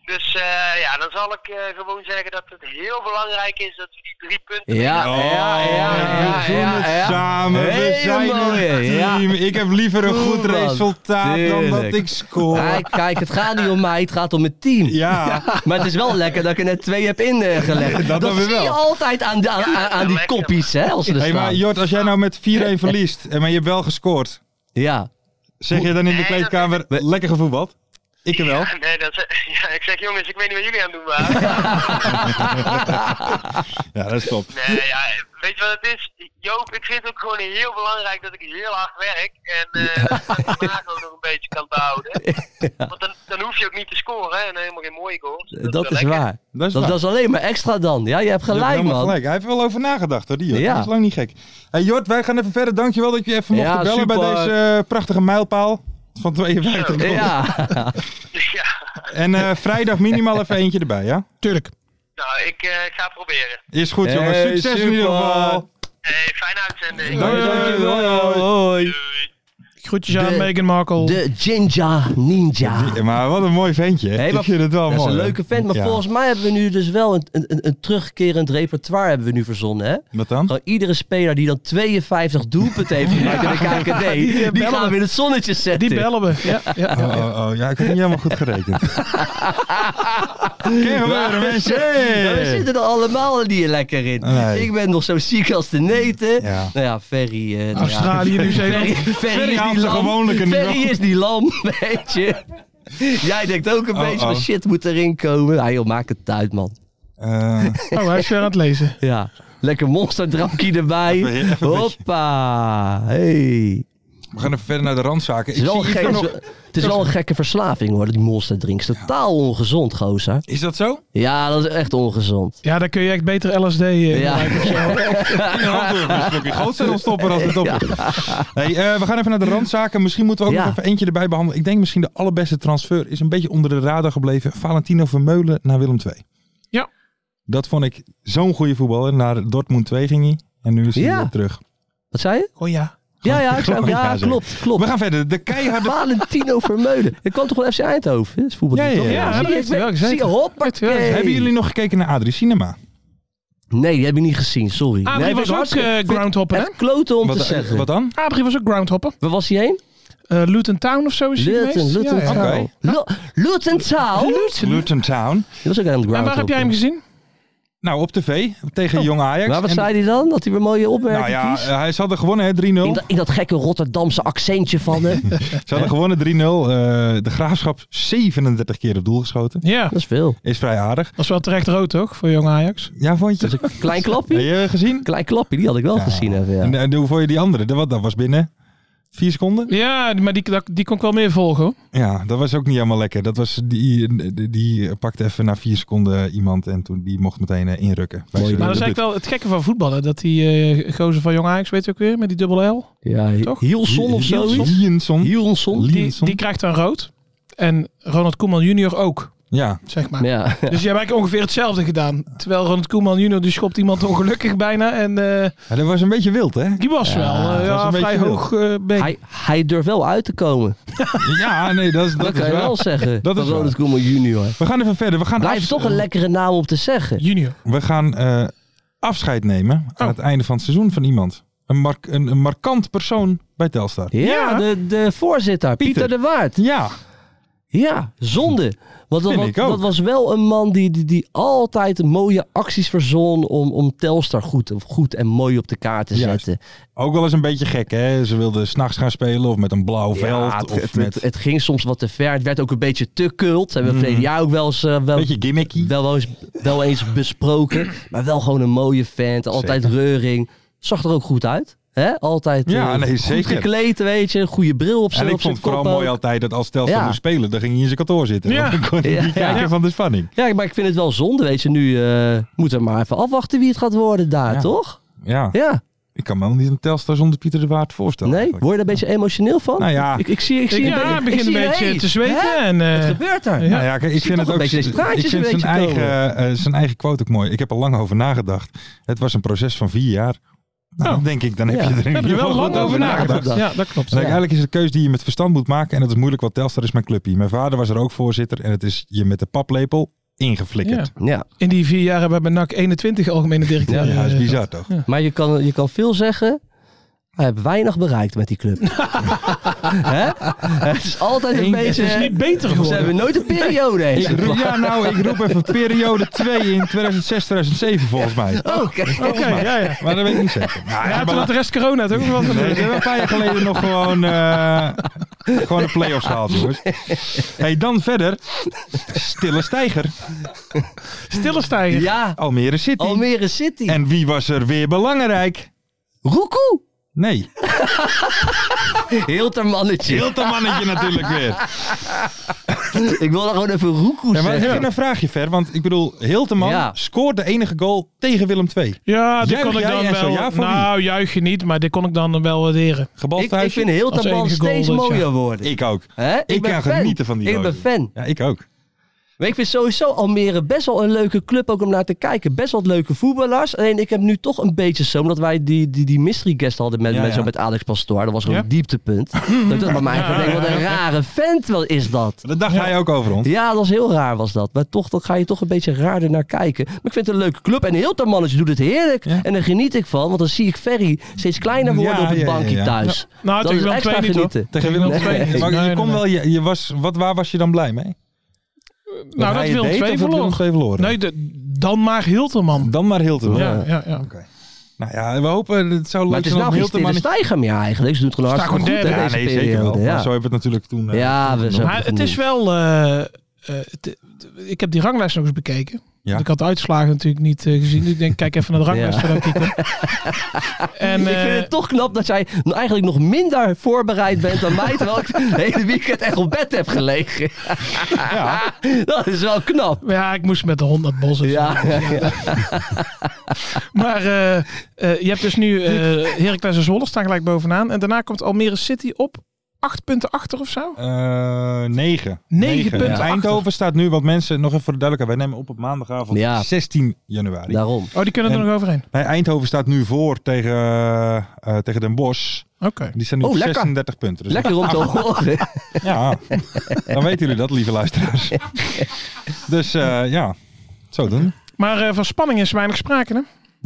I: Dus eh, ja, dan zal ik eh, gewoon zeggen dat het heel belangrijk is dat we die drie punten...
F: Ja,
E: Oh,
F: ja, ja, ja,
E: we doen
F: ja,
E: het
F: ja.
E: samen.
F: Hele
E: we zijn een
F: mooie, ja.
E: team. Ik heb liever een goed
F: Goed, man.
E: resultaat dan dat
F: Tuurlijk.
E: ik score.
F: Kijk, kijk, het gaat niet om mij, het gaat om het team.
E: Ja.
F: Maar het is wel lekker dat ik er net twee heb ingelegd.
E: dan
F: Dat,
E: weer
F: zie
E: wel.
F: je altijd aan, de, aan, aan die
I: lekker.
F: koppies, hè, als ze er
E: Hey, maar
F: staan.
E: Jort, als jij nou met 4-1 verliest, en maar je hebt wel gescoord,
F: Ja.
E: zeg je dan in de
I: Nee,
E: kleedkamer, lekker gevoetbald? Ik er wel.
I: Ja, nee, dat is- ja, ik zeg jongens, ik weet niet wat jullie aan het doen waren.
E: Ja, dat is top.
I: Nee, ja, weet je wat het is? Joop, ik vind het ook gewoon heel belangrijk dat ik heel hard werk. En eh dat ik de maag ook nog een beetje kan behouden. Want dan, dan hoef je ook niet te scoren hè, en helemaal geen mooie goals.
F: Dat,
I: wel
F: is
I: lekker.
F: waar.
E: Dat
F: Dat
E: is
F: is,
E: waar.
F: dat is alleen maar extra dan. Ja, je hebt
E: Je hebt
F: gelijk,
E: helemaal
F: man.
E: Gelijk. Hij heeft er wel over nagedacht hoor, die Jort.
F: Ja.
E: Dat is lang niet gek. Hey, Jort, wij gaan even verder. Dankjewel dat je even mocht
F: Ja,
E: bellen bij
F: super.
E: deze eh, prachtige mijlpaal van 52.
F: Ja,
I: Ja,
E: En eh, vrijdag minimaal even eentje erbij, ja?
G: Tuurlijk.
I: nou, ik eh, ga het proberen.
E: Is goed, jongens.
F: Hey,
E: Succes in
F: super.
E: ieder geval.
I: Hey, fijne uitzending.
E: Dank je.
F: dankjewel. Hoi.
I: Doei.
G: Groetjes aan
F: De-
G: Meghan Markle.
F: De Jinja Ninja.
E: Ja, Maar wat een mooi ventje. hè?
F: Hey,
E: ik
F: maar
E: vind het wel
F: Dat is
E: mooi.
F: een
E: hè?
F: leuke vent, maar
E: Ja.
F: volgens mij hebben we nu dus wel een, een, een- een terugkerend repertoire hebben we nu verzonnen, hè?
E: Wat dan?
F: Gewoon iedere speler die dan 52 doelpunten heeft gemaakt in de KKD, die,
G: bellen
F: gaan
G: we.
F: weer het zonnetje zetten.
G: Die bellen we. Ja, ja,
E: Oh,
G: ja.
E: oh, oh, ja, ik heb niet helemaal goed gerekend. Kijk, gebeuren, mensen.
F: Ja, we
E: Hey.
F: zitten er allemaal niet lekker in.
E: Eh. Nee.
F: Ik ben nog zo ziek als de neten.
E: Ja.
F: Nou ja, Ferry... eh, nou ja.
G: Australië, Nieuw-Zeeland.
F: Ferry, Ferry
E: Ferry
F: is
E: haalt
F: die
E: zijn
F: lam.
E: gewoonlijke nu
F: Ferry
E: wel.
F: is die lam, weet je. Jij denkt ook een
E: Oh,
F: beetje van
E: oh.
F: shit moet erin komen. Ah joh, maak het uit man.
E: Eh,
G: Oh, hij is weer aan het lezen.
F: Ja, lekker monsterdrankje erbij.
E: Even- even een
F: Hoppa. Hey.
E: we gaan even verder naar de randzaken.
F: Het
E: Ik
F: is, wel
E: zie
F: een
E: Ivo
F: gekke-
E: nog...
F: het is wel een gekke verslaving hoor, die monsterdrinks. Totaal ongezond, gozer.
E: Is dat zo?
F: Ja, dat is echt ongezond.
G: Ja, dan kun je echt beter LSD... eh,
F: Ja,
E: Ik groot zijn ontstoppen als het op is. Hey, eh, we gaan even naar de randzaken. Misschien moeten we ook
F: Ja.
E: nog even eentje erbij behandelen. Ik denk misschien de allerbeste transfer is een beetje onder de radar gebleven. Valentino Vermeulen naar Willem II.
G: Ja.
E: Dat vond ik zo'n goede voetballer. Naar Dortmund 2 ging hij. En nu is hij
F: Ja.
E: weer terug.
F: wat zei je?
G: Oh ja.
F: Ja, ja, ik zei ook-
E: Gewoon ja
F: ja
E: zeggen.
F: klopt,
E: We
F: klopt.
E: gaan verder. De keiharde...
F: Valentino Vermeulen. Het kwam toch wel FC Eindhoven? Dat is voetbal.
E: Ja, ja, ja.
G: Ja,
E: Zie
G: dat heeft hij wel gezegd.
F: Zie je, hoppakee.
G: Heeft hij wel
E: Hebben jullie nog gekeken naar Adrie Cinema?
F: Nee, die heb ik niet gezien, sorry.
G: Adrie
F: nee, vind
G: was
F: ik
G: ook
F: hartstikke-
G: eh,
F: vind ik
G: groundhopper, hè?
F: Echt kloten om te
E: Wat, eh,
F: zeggen.
E: wat dan?
G: Adrie was ook groundhopper.
F: Waar was hij heen?
G: Eh Luton Town of zo is hij
F: Luton,
G: geweest.
F: Luton
G: Ja, ja.
E: Town.
F: Taal. Lu- Luton Taal?
E: Luton Town.
F: Die was ook aan het
G: En waar heb jij hem
F: groundhopper.
G: gezien?
E: Nou, op tv.
F: Oh.
E: Tegen Jong Ajax.
F: Maar wat
E: En-
F: zei hij dan? Dat hij weer mooie
E: Nou
F: opmerkingen
E: ja,
F: kiest?
E: eh, hij zal er gewonnen, hè, 3-0.
F: In dat, in dat gekke Rotterdamse accentje van hem.
E: Ze hadden gewonnen 3-0. Eh, de Graafschap 37 keer op doel geschoten.
G: Ja,
F: Dat is veel.
E: Is vrij aardig.
G: was wel terecht rood, toch? Voor jong Ajax.
E: Ja, vond je?
F: Dat is een klein
E: Heb
F: klapje.
E: je eh, gezien?
F: Klein klapje, die had ik wel gezien. Even, ja.
E: En, en hoe vond je die andere? Dat, wat- dat was binnen vier seconden.
G: Ja, maar die, dat- die kon ik wel meer volgen, hoor.
E: Ja, dat was ook niet helemaal lekker. Dat was die, die, die pakte even na vier seconden iemand en toen die mocht meteen eh, inrukken. Bij zijn
G: Maar dat
E: debuut.
G: is eigenlijk wel het gekke van voetballen. Dat die eh gozer van Jong Ajax, weet je ook weer, met die dubbel L.
F: ja,
G: Toch?
F: Hielson of zoiets.
E: Hienson.
F: Hielson.
G: Die,
E: Lienson.
G: die krijgt dan rood. En Ronald Koeman junior ook,
E: Ja,
G: zeg maar.
F: Ja.
G: Dus die hebben eigenlijk ongeveer hetzelfde gedaan. Terwijl Ronald Koeman junior die schopt iemand ongelukkig bijna. En eh,
E: Ja, dat was een beetje wild, hè?
G: die was wel eh,
E: dat was
G: ja,
E: een
G: vrij
E: beetje
G: hoog eh been.
F: Hij, hij durft wel uit te komen.
E: Ja, nee, dat is,
F: Dat,
E: dat
F: kan
E: is
F: je wel,
E: wel.
F: zeggen.
E: Dat is
F: van
E: waar.
F: Ronald Koeman junior.
E: We gaan even verder. We gaan,
F: Blijft
E: afs-
F: toch een lekkere naam om te zeggen.
G: Junior.
E: we gaan eh, afscheid nemen
G: Oh.
E: aan het einde van het seizoen van iemand. Een, mark- een, een markant persoon bij Telstar.
F: Ja,
G: Ja.
F: De, de voorzitter, Pieter.
E: Pieter.
F: de Waard.
E: Ja,
F: Ja, zonde. Want dat,
E: Vind
F: was-
E: ik ook.
F: dat was wel een man die, die, die altijd mooie acties verzon om, om Telstar goed, goed en mooi op de kaart te
E: Juist.
F: zetten.
E: ook wel eens een beetje gek, hè? Ze wilden s'nachts gaan spelen of met een blauw veld.
F: Ja, het,
E: of
F: het,
E: met...
F: het- het ging soms wat te ver. Het werd ook een beetje te kult. Hebben we verleden jaar ook wel eens, eh, wel,
E: Mhm. Beetje gimmicky.
F: wel, wel eens, wel eens besproken. Maar wel gewoon een mooie vent. Altijd reuring. Zag er ook goed uit. Hè? Altijd
E: Ja,
F: eh,
E: nee,
F: goed
E: zeker.
F: gekleed, weet je. Goede bril op zijn
E: En ik
F: op zijn
E: vond het vooral
F: kop ook.
E: mooi altijd dat als Telstar
F: Ja.
E: moest spelen, dan ging hij in zijn kantoor zitten.
G: Ja.
E: Want Dan kon hij
F: Ja,
E: niet
F: ja.
E: kijken van de spanning.
F: Ja, maar ik vind het wel zonde, weet je. Nu eh moeten we maar even afwachten wie het gaat worden daar,
E: Ja.
F: toch?
E: Ja,
F: Ja,
E: ik kan me wel niet een Telstar zonder Pieter de Waard voorstellen.
F: nee? Word
E: eigenlijk.
F: je daar een beetje emotioneel van?
E: Nou ja.
F: Ik, ik zie, ik zie
G: ja,
F: ik
G: ik begin
F: zie-
G: een beetje
F: hey,
G: te zweten.
F: hè?
G: En, eh,
F: Wat gebeurt er?
G: Ja.
E: Nou ja, kijk, ik
F: zie toch
E: vind het
F: een
E: ook.
F: beetje deze praatjes
E: ik vind
F: een
E: zijn
F: beetje
E: eigen,
F: komen.
E: eh, zijn eigen quote ook mooi. Ik heb er lang over nagedacht. Het was een proces van vier jaar. Nou, dan denk ik, dan heb
F: Ja.
E: je er in
G: heb je
E: ieder
G: wel
E: geval
G: lang
E: goed
G: over nagedacht.
F: nagedacht.
G: Ja, dat klopt.
E: Dus Eigenlijk is het een keuze die je met verstand moet maken. En dat is moeilijk, want Telstar is mijn clubje. Mijn vader was er ook voorzitter. En het is je met de paplepel ingeflikkerd.
F: Ja,
G: In die vier jaar hebben we bij NAC 21 algemene directeur.
E: Ja,
G: eh,
E: dat is
G: gehad.
E: bizar toch?
F: maar je kan, je kan veel zeggen. Hij heeft weinig bereikt met die club. Hè? Het is altijd een beetje...
G: Het is niet beter
F: Ze
G: geworden.
F: hebben nooit een periode. hè?
E: Ik roep, ja, nou, ik roep even periode 2 in 2006, 2007 volgens mij.
F: Oké.
G: Oké, ja, ja.
E: Maar dat weet ik niet zeker. Nou,
G: Ja,
E: ja,
G: toen
E: maar
G: had de rest corona toch? Wat een-
E: Nee, we hebben een paar jaar geleden nog gewoon, eh, gewoon de play-offs gehaald, jongens. Hey, dan verder. Stille stijger.
G: Stille stijger.
F: Ja,
E: Almere City.
F: Almere City.
E: En wie was er weer belangrijk?
F: Roekoe.
E: Nee,
F: Hiltermannetje.
E: Hilton mannetje natuurlijk weer.
F: Ik wil daar gewoon even Roekoe
E: Ja, maar ik
F: zeggen.
E: vind een vraagje ver, want ik bedoel, Hilteman
F: Ja.
E: scoort de enige goal tegen Willem II.
G: Ja, die
E: Juich
G: kon ik
E: jij
G: dan
E: en zo
G: wel.
E: ja voor
G: nou, juich je niet, maar dit kon ik dan wel waarderen.
E: Gebal
F: Ik, ik vind Hilterman
G: Als enige
F: steeds
G: goal, dus ja.
F: mooier worden.
E: Ik ook.
F: Hè?
E: Ik
F: ben
E: kan
F: fan.
E: genieten van die
F: Ik ben
E: gozer.
F: fan.
E: Ja, ik ook.
F: Maar ik vind sowieso Almere best wel een leuke club ook om naar te kijken. Best wel leuke voetballers. Alleen ik heb nu toch een beetje zo, omdat wij die, die, die mystery guest hadden met,
E: Ja,
F: met, zo
E: ja.
F: met Alex Pastoor. Dat was gewoon
G: Ja.
F: een dieptepunt. dat ik dacht bij mij van, denk, wat een rare vent wel is dat.
E: Dat dacht hij ook over ons.
F: Ja, dat was heel raar was dat. Maar toch, dan ga je toch een beetje raarder naar kijken. Maar ik vind het een leuke club. En heel dat mannetje doet het heerlijk.
E: Ja.
F: En daar geniet ik van. Want dan zie ik Ferry steeds kleiner worden
E: Ja,
F: op het
E: ja, ja,
F: bankje
E: ja.
F: thuis.
G: Nou,
F: Dat
G: tegen
F: is
G: Willem
F: extra
G: II niet, hoor.
F: genieten.
E: Tegen
G: Willem
E: Nee.
G: II niet.
E: Maar je
G: Nee, nee,
E: kon
G: nee.
E: wel, je, je was, wat, waar was je dan blij mee?
G: Nou, dat
E: hij
G: Willem
E: deed of
G: II
E: dat Willem
G: verloren.
E: II verloren?
G: Nee, de- dan maar Hilterman.
E: Dan maar Hilteman.
G: Ja, ja, ja.
E: Nou ja, we hopen, het zou
F: Maar
E: leuk
F: het is
E: zijn
F: nou
E: om
F: geen
E: Hilteman...
F: stille stijger meer eigenlijk. Ze doet het gewoon
G: Staan
F: hartstikke goed
G: gewoon
F: hè,
E: Ja,
F: deze
E: nee, zeker
F: periode.
E: wel. Maar
F: Ja.
E: Zo hebben we het natuurlijk toen... eh,
F: Ja, we zijn
G: Maar het is wel. eh, eh, het- ik heb die ranglijst nog eens bekeken.
E: Ja.
G: Ik had de uitslagen natuurlijk niet eh, gezien. Dus ik denk, kijk even naar de ranglijst
F: Ja.
G: voordat ik hier kom. En,
F: ik vind
G: eh,
F: het toch knap dat jij nou eigenlijk nog minder voorbereid bent dan mij, terwijl ik het hele weekend echt op bed heb gelegen. dat is wel knap.
G: maar ja, ik moest met de hond naar het bos. en zo.
F: Ja, ja.
G: Maar eh, eh, je hebt dus nu eh Heracles en Zwolle staan gelijk bovenaan. En daarna komt Almere City op. Acht punten achter of zo?
E: eh, negen.
G: Negen punten
E: Ja.
G: achter.
E: Eindhoven staat nu, wat mensen, nog even voor de duidelijkheid, wij nemen op op maandagavond
F: Ja.
E: 16 januari.
F: daarom.
G: Oh, die kunnen er
E: En-
G: nog overheen.
E: Nee, Eindhoven staat nu voor tegen, eh, tegen Den Bosch.
G: Oké.
E: Die staan nu
F: Oh,
E: op
F: lekker.
E: 36 punten. Dus
F: Lekker om te horen.
E: Ja, dan weten jullie dat, lieve luisteraars. Dus eh, ja, zo doen.
G: Maar eh, van spanning is weinig sprake. Hè?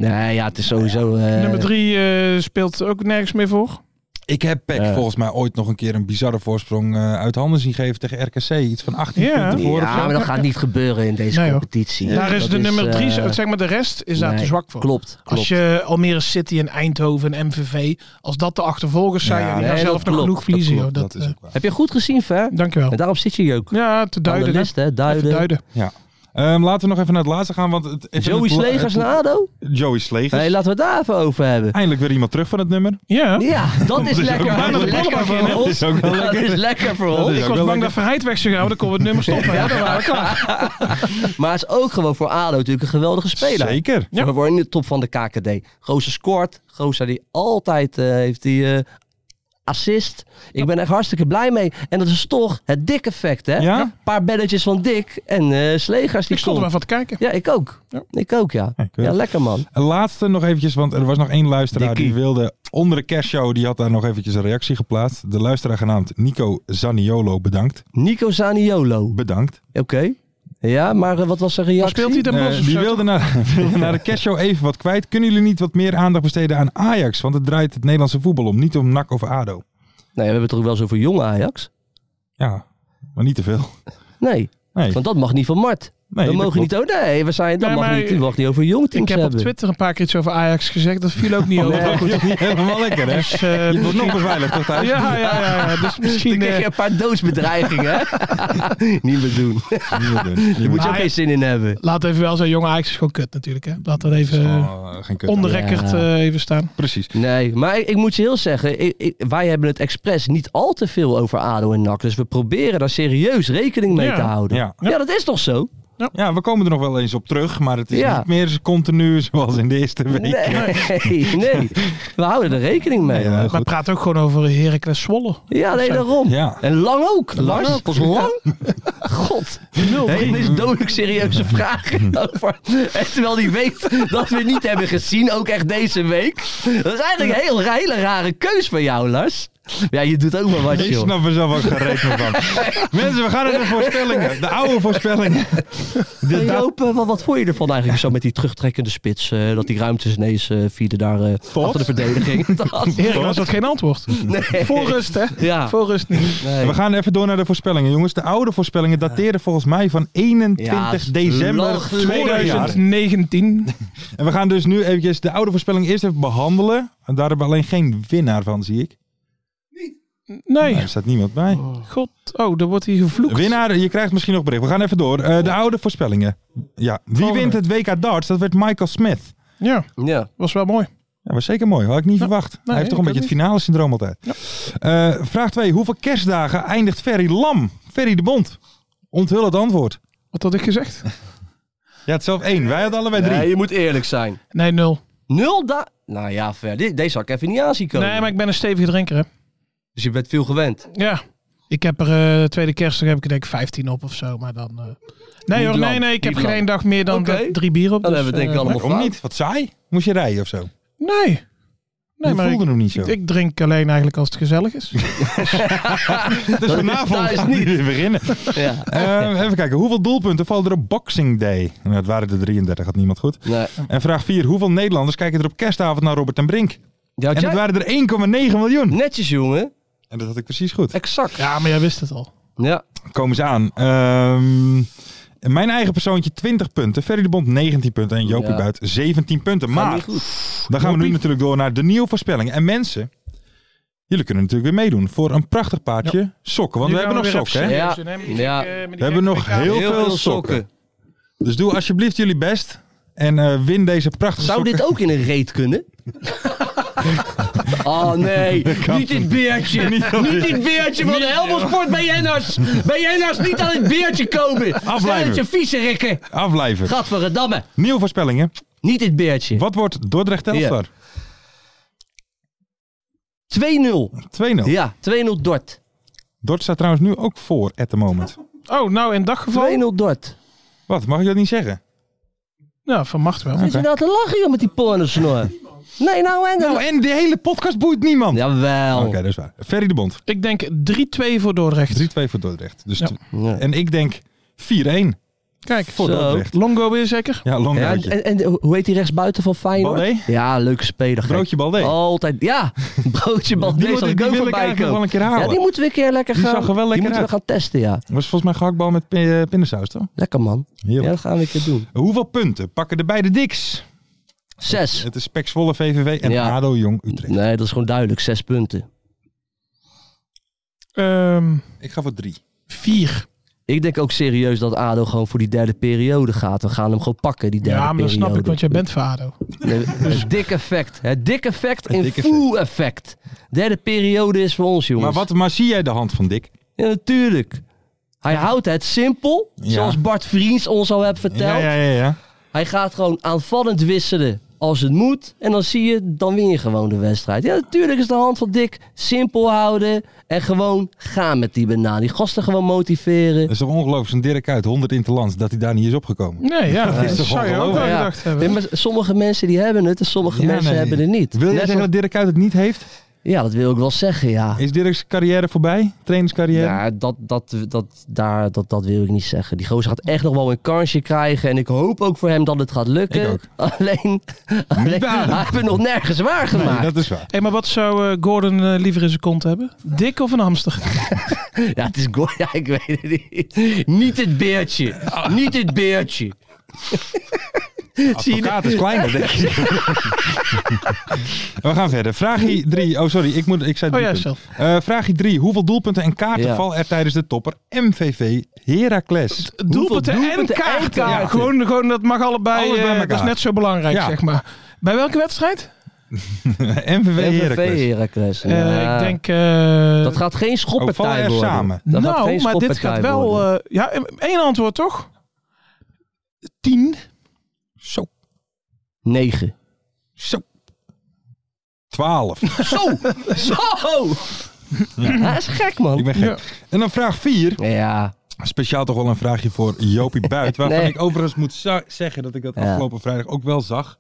F: Eh. Nee, ja, het is sowieso. eh,
G: Nummer drie eh, speelt ook nergens meer voor.
E: Ik heb Peck
F: Ja.
E: volgens mij ooit nog een keer een bizarre voorsprong eh, uit handen zien geven tegen RKC. Iets van 18
G: Ja.
E: punten voor. of
F: Ja,
E: zo.
F: maar dat gaat niet gebeuren in deze
G: Nee, hoor.
F: competitie.
G: daar is
F: Dat
G: de nummer drie,
F: eh,
G: zo- zeg maar de rest, is daar
F: nee,
G: te zwak voor.
F: Klopt, klopt.
G: Als je eh, Almere City en Eindhoven en MVV, als dat de achtervolgers zijn,
E: Ja,
G: ja, die gaan
F: nee,
G: zelf
F: dat klopt,
G: nog genoeg
F: dat eh,
G: verliezen.
E: Klopt,
G: joh. Dat,
E: is ook waar.
F: Heb je goed gezien, Ver?
G: eh, dankjewel.
F: En daarop zit je hier ook.
G: Ja, te duiden. hè.
F: Analist, hè?
G: Even
F: Duiden.
G: duiden.
E: Ehm, laten we nog even naar het laatste gaan. Want het, even
F: Joey
E: het la-
F: Slegers
E: het-
F: naar ADO?
E: Eh, Joey Slegers.
F: Hey, laten we het daar even over hebben.
E: Eindelijk weer iemand terug van het nummer.
G: Ja.
F: Ja, dat is
E: is ook
F: lekker.
E: bijna
F: Dat
E: de
F: is
E: ballen
F: lekker
E: van hem.
F: voor
E: Dat
F: ons.
E: is ook wel
F: Dat
E: lekker.
F: is lekker voor
E: Dat
F: ons.
E: is
G: Ik
E: ook
G: was
E: wel
G: bang
E: lekker.
G: dat Verheid weg zou gaan, want dan kon het nummer stoppen. Ja, dan waren we klaar.
F: Maar het is ook gewoon voor ADO natuurlijk een geweldige speler.
E: Zeker.
F: Ja. We worden in de top van de KKD. Gozer scoort. Gozer die altijd eh, heeft die eh, assist. Ik ben echt hartstikke blij mee. En dat is toch het dik effect, hè?
E: Ja?
F: Een paar belletjes van Dick en eh, Slegers die
G: Ik stond er
F: komt.
G: maar van te kijken.
F: Ja, ik ook. Ik ook, ja.
E: keurig.
F: Ja, lekker man.
E: Een laatste nog eventjes, want er was nog één luisteraar
F: Dikkie.
E: die wilde onder de kerstshow, die had daar nog eventjes een reactie geplaatst. De luisteraar genaamd Nico Zaniolo, bedankt.
F: Nico Zaniolo. Oké.
E: Bedankt.
F: Ja, maar eh, wat was zijn reactie?
G: Speelt hij de
E: Eh,
G: bos of
E: die
G: zo?
E: wilde naar, wilde naar de kerstshow even wat kwijt. Kunnen jullie niet wat meer aandacht besteden aan Ajax? Want het draait het Nederlandse voetbal om, niet om NAC of ADO.
F: Nee, we hebben het toch wel zo voor jonge Ajax?
E: Ja, maar niet te veel.
F: Nee,
E: Nee,
F: want dat mag niet van Mart.
E: nee
F: we
E: dat
F: mogen
E: klopt.
F: niet... Oh nee, we zijn, dat
G: Nee,
F: mag
G: maar-
F: niet, die mag niet over jong
G: Ik
F: teams
G: heb op
F: hebben.
G: Twitter een paar keer iets over Ajax gezegd. Dat viel ook
F: Oh,
G: niet over. Maar goed.
E: Niet helemaal lekker, hè?
G: Dus, eh,
E: Je wordt nog beveiligd, toch
G: ja,
E: thuis?
G: ja, ja, ja. Dus
F: Dan
G: misschien...
F: kreeg je
G: eh,
F: een paar doodsbedreigingen. hè? niet meer doen.
E: Niet meer doen. Je
F: Moet
E: moet dus- Ah,
F: je ook geen zin in hebben.
G: laat even wel zijn, jonge Ajax is gewoon kut natuurlijk. Hè. Laat dat even eh,
E: Oh, geen kut.
G: onder record
F: Ja.
G: eh, even staan.
E: Precies.
F: Nee, maar ik, ik moet je heel zeggen, ik- ik- wij hebben het expres niet al te veel over ADO en NAC. Dus we proberen daar serieus rekening mee
G: Ja.
F: te houden.
E: Ja.
F: Ja, dat is toch zo?
E: Ja, we komen er nog wel eens op terug, maar het is
F: Ja.
E: niet meer continu zoals in de eerste week.
F: Nee, nee. We houden er rekening mee.
E: Ja,
G: Maar
E: goed.
G: praat ook gewoon over Heracles Zwolle.
F: Ja, nee, daarom.
E: Ja.
F: En lang ook. Lang
E: ook,
F: Lars,
E: ja.
F: lang? God. Hey, deze dodelijk serieuze vragen over. En terwijl hij weet dat we het niet hebben gezien, ook echt deze week. Dat is eigenlijk een heel, hele rare keus van jou, Lars. Ja, je doet ook maar wat,
E: Ik
F: joh.
E: snap er zelf ook geen rekening van. Mensen, we gaan naar de voorspellingen. De oude voorspellingen.
F: Hey, Joop, eh, wat, wat vond je ervan eigenlijk zo met die terugtrekkende spits? eh, dat die ruimtes ineens eh vielen daar eh, achter de verdediging. Dat-
G: Heracles had geen antwoord.
F: nee.
G: Voor rust, hè?
F: Ja.
G: Voor rust niet.
F: Nee.
E: We gaan even door naar de voorspellingen, jongens. De oude voorspellingen dateren volgens mij van 21
F: Ja,
E: december
F: lang geleden,
E: 2000.
G: 2019.
E: En we gaan dus nu eventjes de oude voorspelling eerst even behandelen. En daar hebben we alleen geen winnaar van, zie ik.
G: Nee.
E: Er staat niemand bij.
G: God. Oh, dan wordt hij gevloekt.
E: Winnaar, je krijgt misschien nog bericht. We gaan even door. Eh, de oude voorspellingen. Ja. Wie
G: Volgende.
E: wint het WK darts? Dat werd Michael Smith.
G: Ja,
F: Ja.
G: was wel mooi.
E: Dat was zeker mooi. Had ik niet verwacht. Hij heeft
G: ik
E: toch een
G: ook
E: beetje het finale syndroom altijd. Eh, vraag 2. Hoeveel kerstdagen eindigt Ferry Lam? Ferry de Bond. Onthul het antwoord.
G: Wat had ik gezegd?
E: Ja, het zelf één. Wij hadden allebei drie.
F: Nee, je moet eerlijk zijn.
G: Nee, nul.
F: Nul da... Nou ja, ver. Dit- Deze had ik even niet aan zien komen.
G: Nee, maar ik ben een stevige drinker, hè?
F: Dus je bent veel gewend.
G: Ja. Ik heb er eh, tweede kerstdag heb ik er denk ik 15 op of zo, maar dan... eh, Nee
F: Niet
G: hoor, nee,
F: lang,
G: nee, ik heb
F: niet lang.
G: geen dag meer dan
F: Oké.
G: de- drie bier op.
F: Dan
G: dus,
F: hebben we het denk ik
G: eh,
F: allemaal
E: Waarom
F: fout.
E: niet? Wat saai? Moest je rijden of zo?
G: Nee. Nee,
E: je
G: maar
E: voelde
G: ik,
E: hem niet zo.
G: ik, ik drink alleen eigenlijk als het gezellig is.
E: dus vanavond
F: thuis
E: gaan we weer beginnen.
F: Ja.
E: Eh, even kijken. Hoeveel doelpunten vallen er op Boxing Day? Nou, het waren er 33. Had niemand goed.
F: Nee.
E: En vraag 4. Hoeveel Nederlanders kijken er op kerstavond naar Robert en Brink?
F: Ja,
E: En dat waren er 1,9 miljoen.
F: Netjes, jongen.
E: En dat had ik precies goed.
F: Exact. Ja.
G: Ja, maar jij wist het al.
E: Komen ze aan. Ehm, mijn eigen persoontje 20 punten. Ferry de Bond 19 punten. En Jopie
F: Ja.
E: Buit 17 punten.
F: Gaat
E: Maar
F: niet goed.
E: dan gaan we nu natuurlijk door naar de nieuwe voorspellingen. En mensen, jullie kunnen natuurlijk weer meedoen. Voor een prachtig paardje sokken. Want we hebben nog sokken. Hè?
F: Ja. Ja.
G: eh,
E: We hebben nog heel, veel, sokken. Dus doe alsjeblieft jullie best. En eh, win deze prachtige
F: Zou
E: sokken.
F: dit ook in een reet kunnen? oh nee, niet dit beertje. Niet dit beertje van de Helmelsport bij Jenners. Bij Jenners nou niet aan het beertje komen. Stel dat je vieze rikken.
E: Afblijven.
F: Gadverdamme.
E: Nieuwe voorspellingen.
F: Niet dit beertje.
E: Wat wordt Dordrecht Telstar?
F: 2-0.
E: 2-0.
F: Ja, 2-0 Dort.
E: Dort staat trouwens nu ook voor at the moment.
G: Oh, nou in dat
F: 2-0
G: geval.
F: Dort.
E: Wat, mag ik dat niet zeggen?
G: Ja, van macht wel.
F: Is je nou te lachen joh, met die pornosnor? Nee, nou en dan.
E: Nou, en die hele podcast boeit niemand.
F: Jawel.
E: Oké, dat is waar. Ferry de Bond. 3-2
G: Ik denk 3-2 voor Dordrecht.
E: voor Dordrecht. Dus
G: Ja.
E: t-
F: Ja.
E: En ik denk 4-1
G: Kijk,
E: voor
F: Zo.
E: Dordrecht.
G: Longo weer zeker?
E: Ja, long
F: Ja,
E: broodje.
F: en, en hoe heet die rechtsbuiten van Feyenoord?
E: Baldé?
F: Ja, leuke speler. gek.
E: Broodje Baldé.
F: Altijd, ja. Broodje Baldé
E: wil-
F: Oh, zal ik
E: die
F: ook
E: wil ik
F: voorbij
E: eigenlijk
F: komen.
E: wel een keer halen.
F: Ja, die moeten we een keer lekker
E: Die
F: gaan,
E: zag er wel
F: die
E: lekker
F: moeten we gaan testen, ja.
E: was volgens mij gehaktbal met pin- eh, pindasaus, toch?
F: Lekker man. Ja,
E: Heerlijk.
F: dat gaan we een keer doen.
E: Hoeveel punten pakken de beide diks?
F: Zes.
E: Het is Pek Zwolle, VVV en
F: Ja.
E: ADO Jong Utrecht.
F: Nee, dat is gewoon duidelijk. Zes punten.
G: Ehm
E: Ik ga voor 3.
G: 4.
F: Ik denk ook serieus dat ADO gewoon voor die derde periode gaat. We gaan hem gewoon pakken, die derde
G: Ja, maar dat
F: periode.
G: snap ik, want jij bent voor ADO.
F: Nee, Het dik effect. Het dik effect
E: Dus- Het
F: in
E: dik
F: full effect. Derde periode is voor ons,
E: Maar,
F: jongens.
E: wat, maar zie jij de hand van Dick?
F: Ja, natuurlijk. Hij houdt het simpel,
E: Ja.
F: zoals Bart Vriends ons al heeft verteld.
E: Ja, ja, ja. ja.
F: Hij gaat gewoon aanvallend wisselen als het moet. En dan zie je, dan win je gewoon de wedstrijd. Ja, natuurlijk is de hand van Dick simpel houden. En gewoon gaan met die banaan. Die gasten gewoon motiveren.
E: Dat is toch ongelooflijk, zo'n Dirk uit, 100 interlands, dat hij daar niet is opgekomen.
G: Nee, ja, dat,
E: is toch
G: zou je ook wel
E: ongelooflijk?
F: Ja.
G: gedacht hebben.
F: Nee, maar sommige mensen die hebben het en sommige
E: Ja,
F: mensen
E: nee.
F: hebben het niet.
E: Wil je
F: Net
E: zeggen dat
F: als-
E: Dirk uit het niet heeft?
F: Ja, dat wil ik wel zeggen, ja.
E: Is Dirk's carrière voorbij? Trainerscarrière?
F: Ja, dat, dat, dat, daar, dat, dat wil ik niet zeggen. Die gozer gaat echt nog wel een kansje krijgen. En ik hoop ook voor hem dat het gaat lukken.
E: Ik ook.
F: Alleen, alleen
E: baden.
F: hij heeft het nog nergens waar
E: Nee,
F: gemaakt.
E: dat is waar.
G: Hé, maar wat zou eh, Gordon eh, liever in zijn kont hebben? Dik of een hamster?
F: Ja, het is Gordon. Ja, ik weet het niet. Niet het beertje. Niet het beertje.
E: Advocaat is kleiner, denk ik. We gaan verder. Vraagje 3. Oh, sorry. Ik, moet, ik zei
G: Oh
E: drie
G: ja,
E: punten.
G: zo.
E: Eh, Vraagje 3. Hoeveel doelpunten en kaarten
F: Ja.
E: vallen er tijdens de topper MVV Heracles?
G: Doelpunten en
F: doelpunten en
G: kaarten. Ja,
F: kaarten?
G: gewoon, gewoon, dat mag allebei.
E: Alles bij
G: eh, dat is
E: elkaar.
G: net zo belangrijk,
E: Ja.
G: zeg maar. Bij welke wedstrijd?
E: MVV Heracles.
F: Heracles.
G: Eh,
F: ja.
G: ik denk... eh,
F: Dat gaat geen
E: Oh, vallen
F: schoppertij
E: er
F: worden.
E: samen.
F: Dat gaat
G: nou,
F: geen
G: maar dit
F: schoppartij
G: gaat wel...
F: worden.
G: eh, ja, één antwoord toch?
J: 10.
F: Zo. 9.
J: Zo.
E: 12.
F: Zo! Zo! Ja, dat is gek,
E: Ik
F: man.
E: ben gek. En dan vraag 4.
F: Ja.
E: Speciaal toch wel een vraagje voor Jopie Buit. Waarvan
F: Nee.
E: ik overigens moet za- zeggen dat ik dat
F: Ja.
E: afgelopen vrijdag ook wel zag.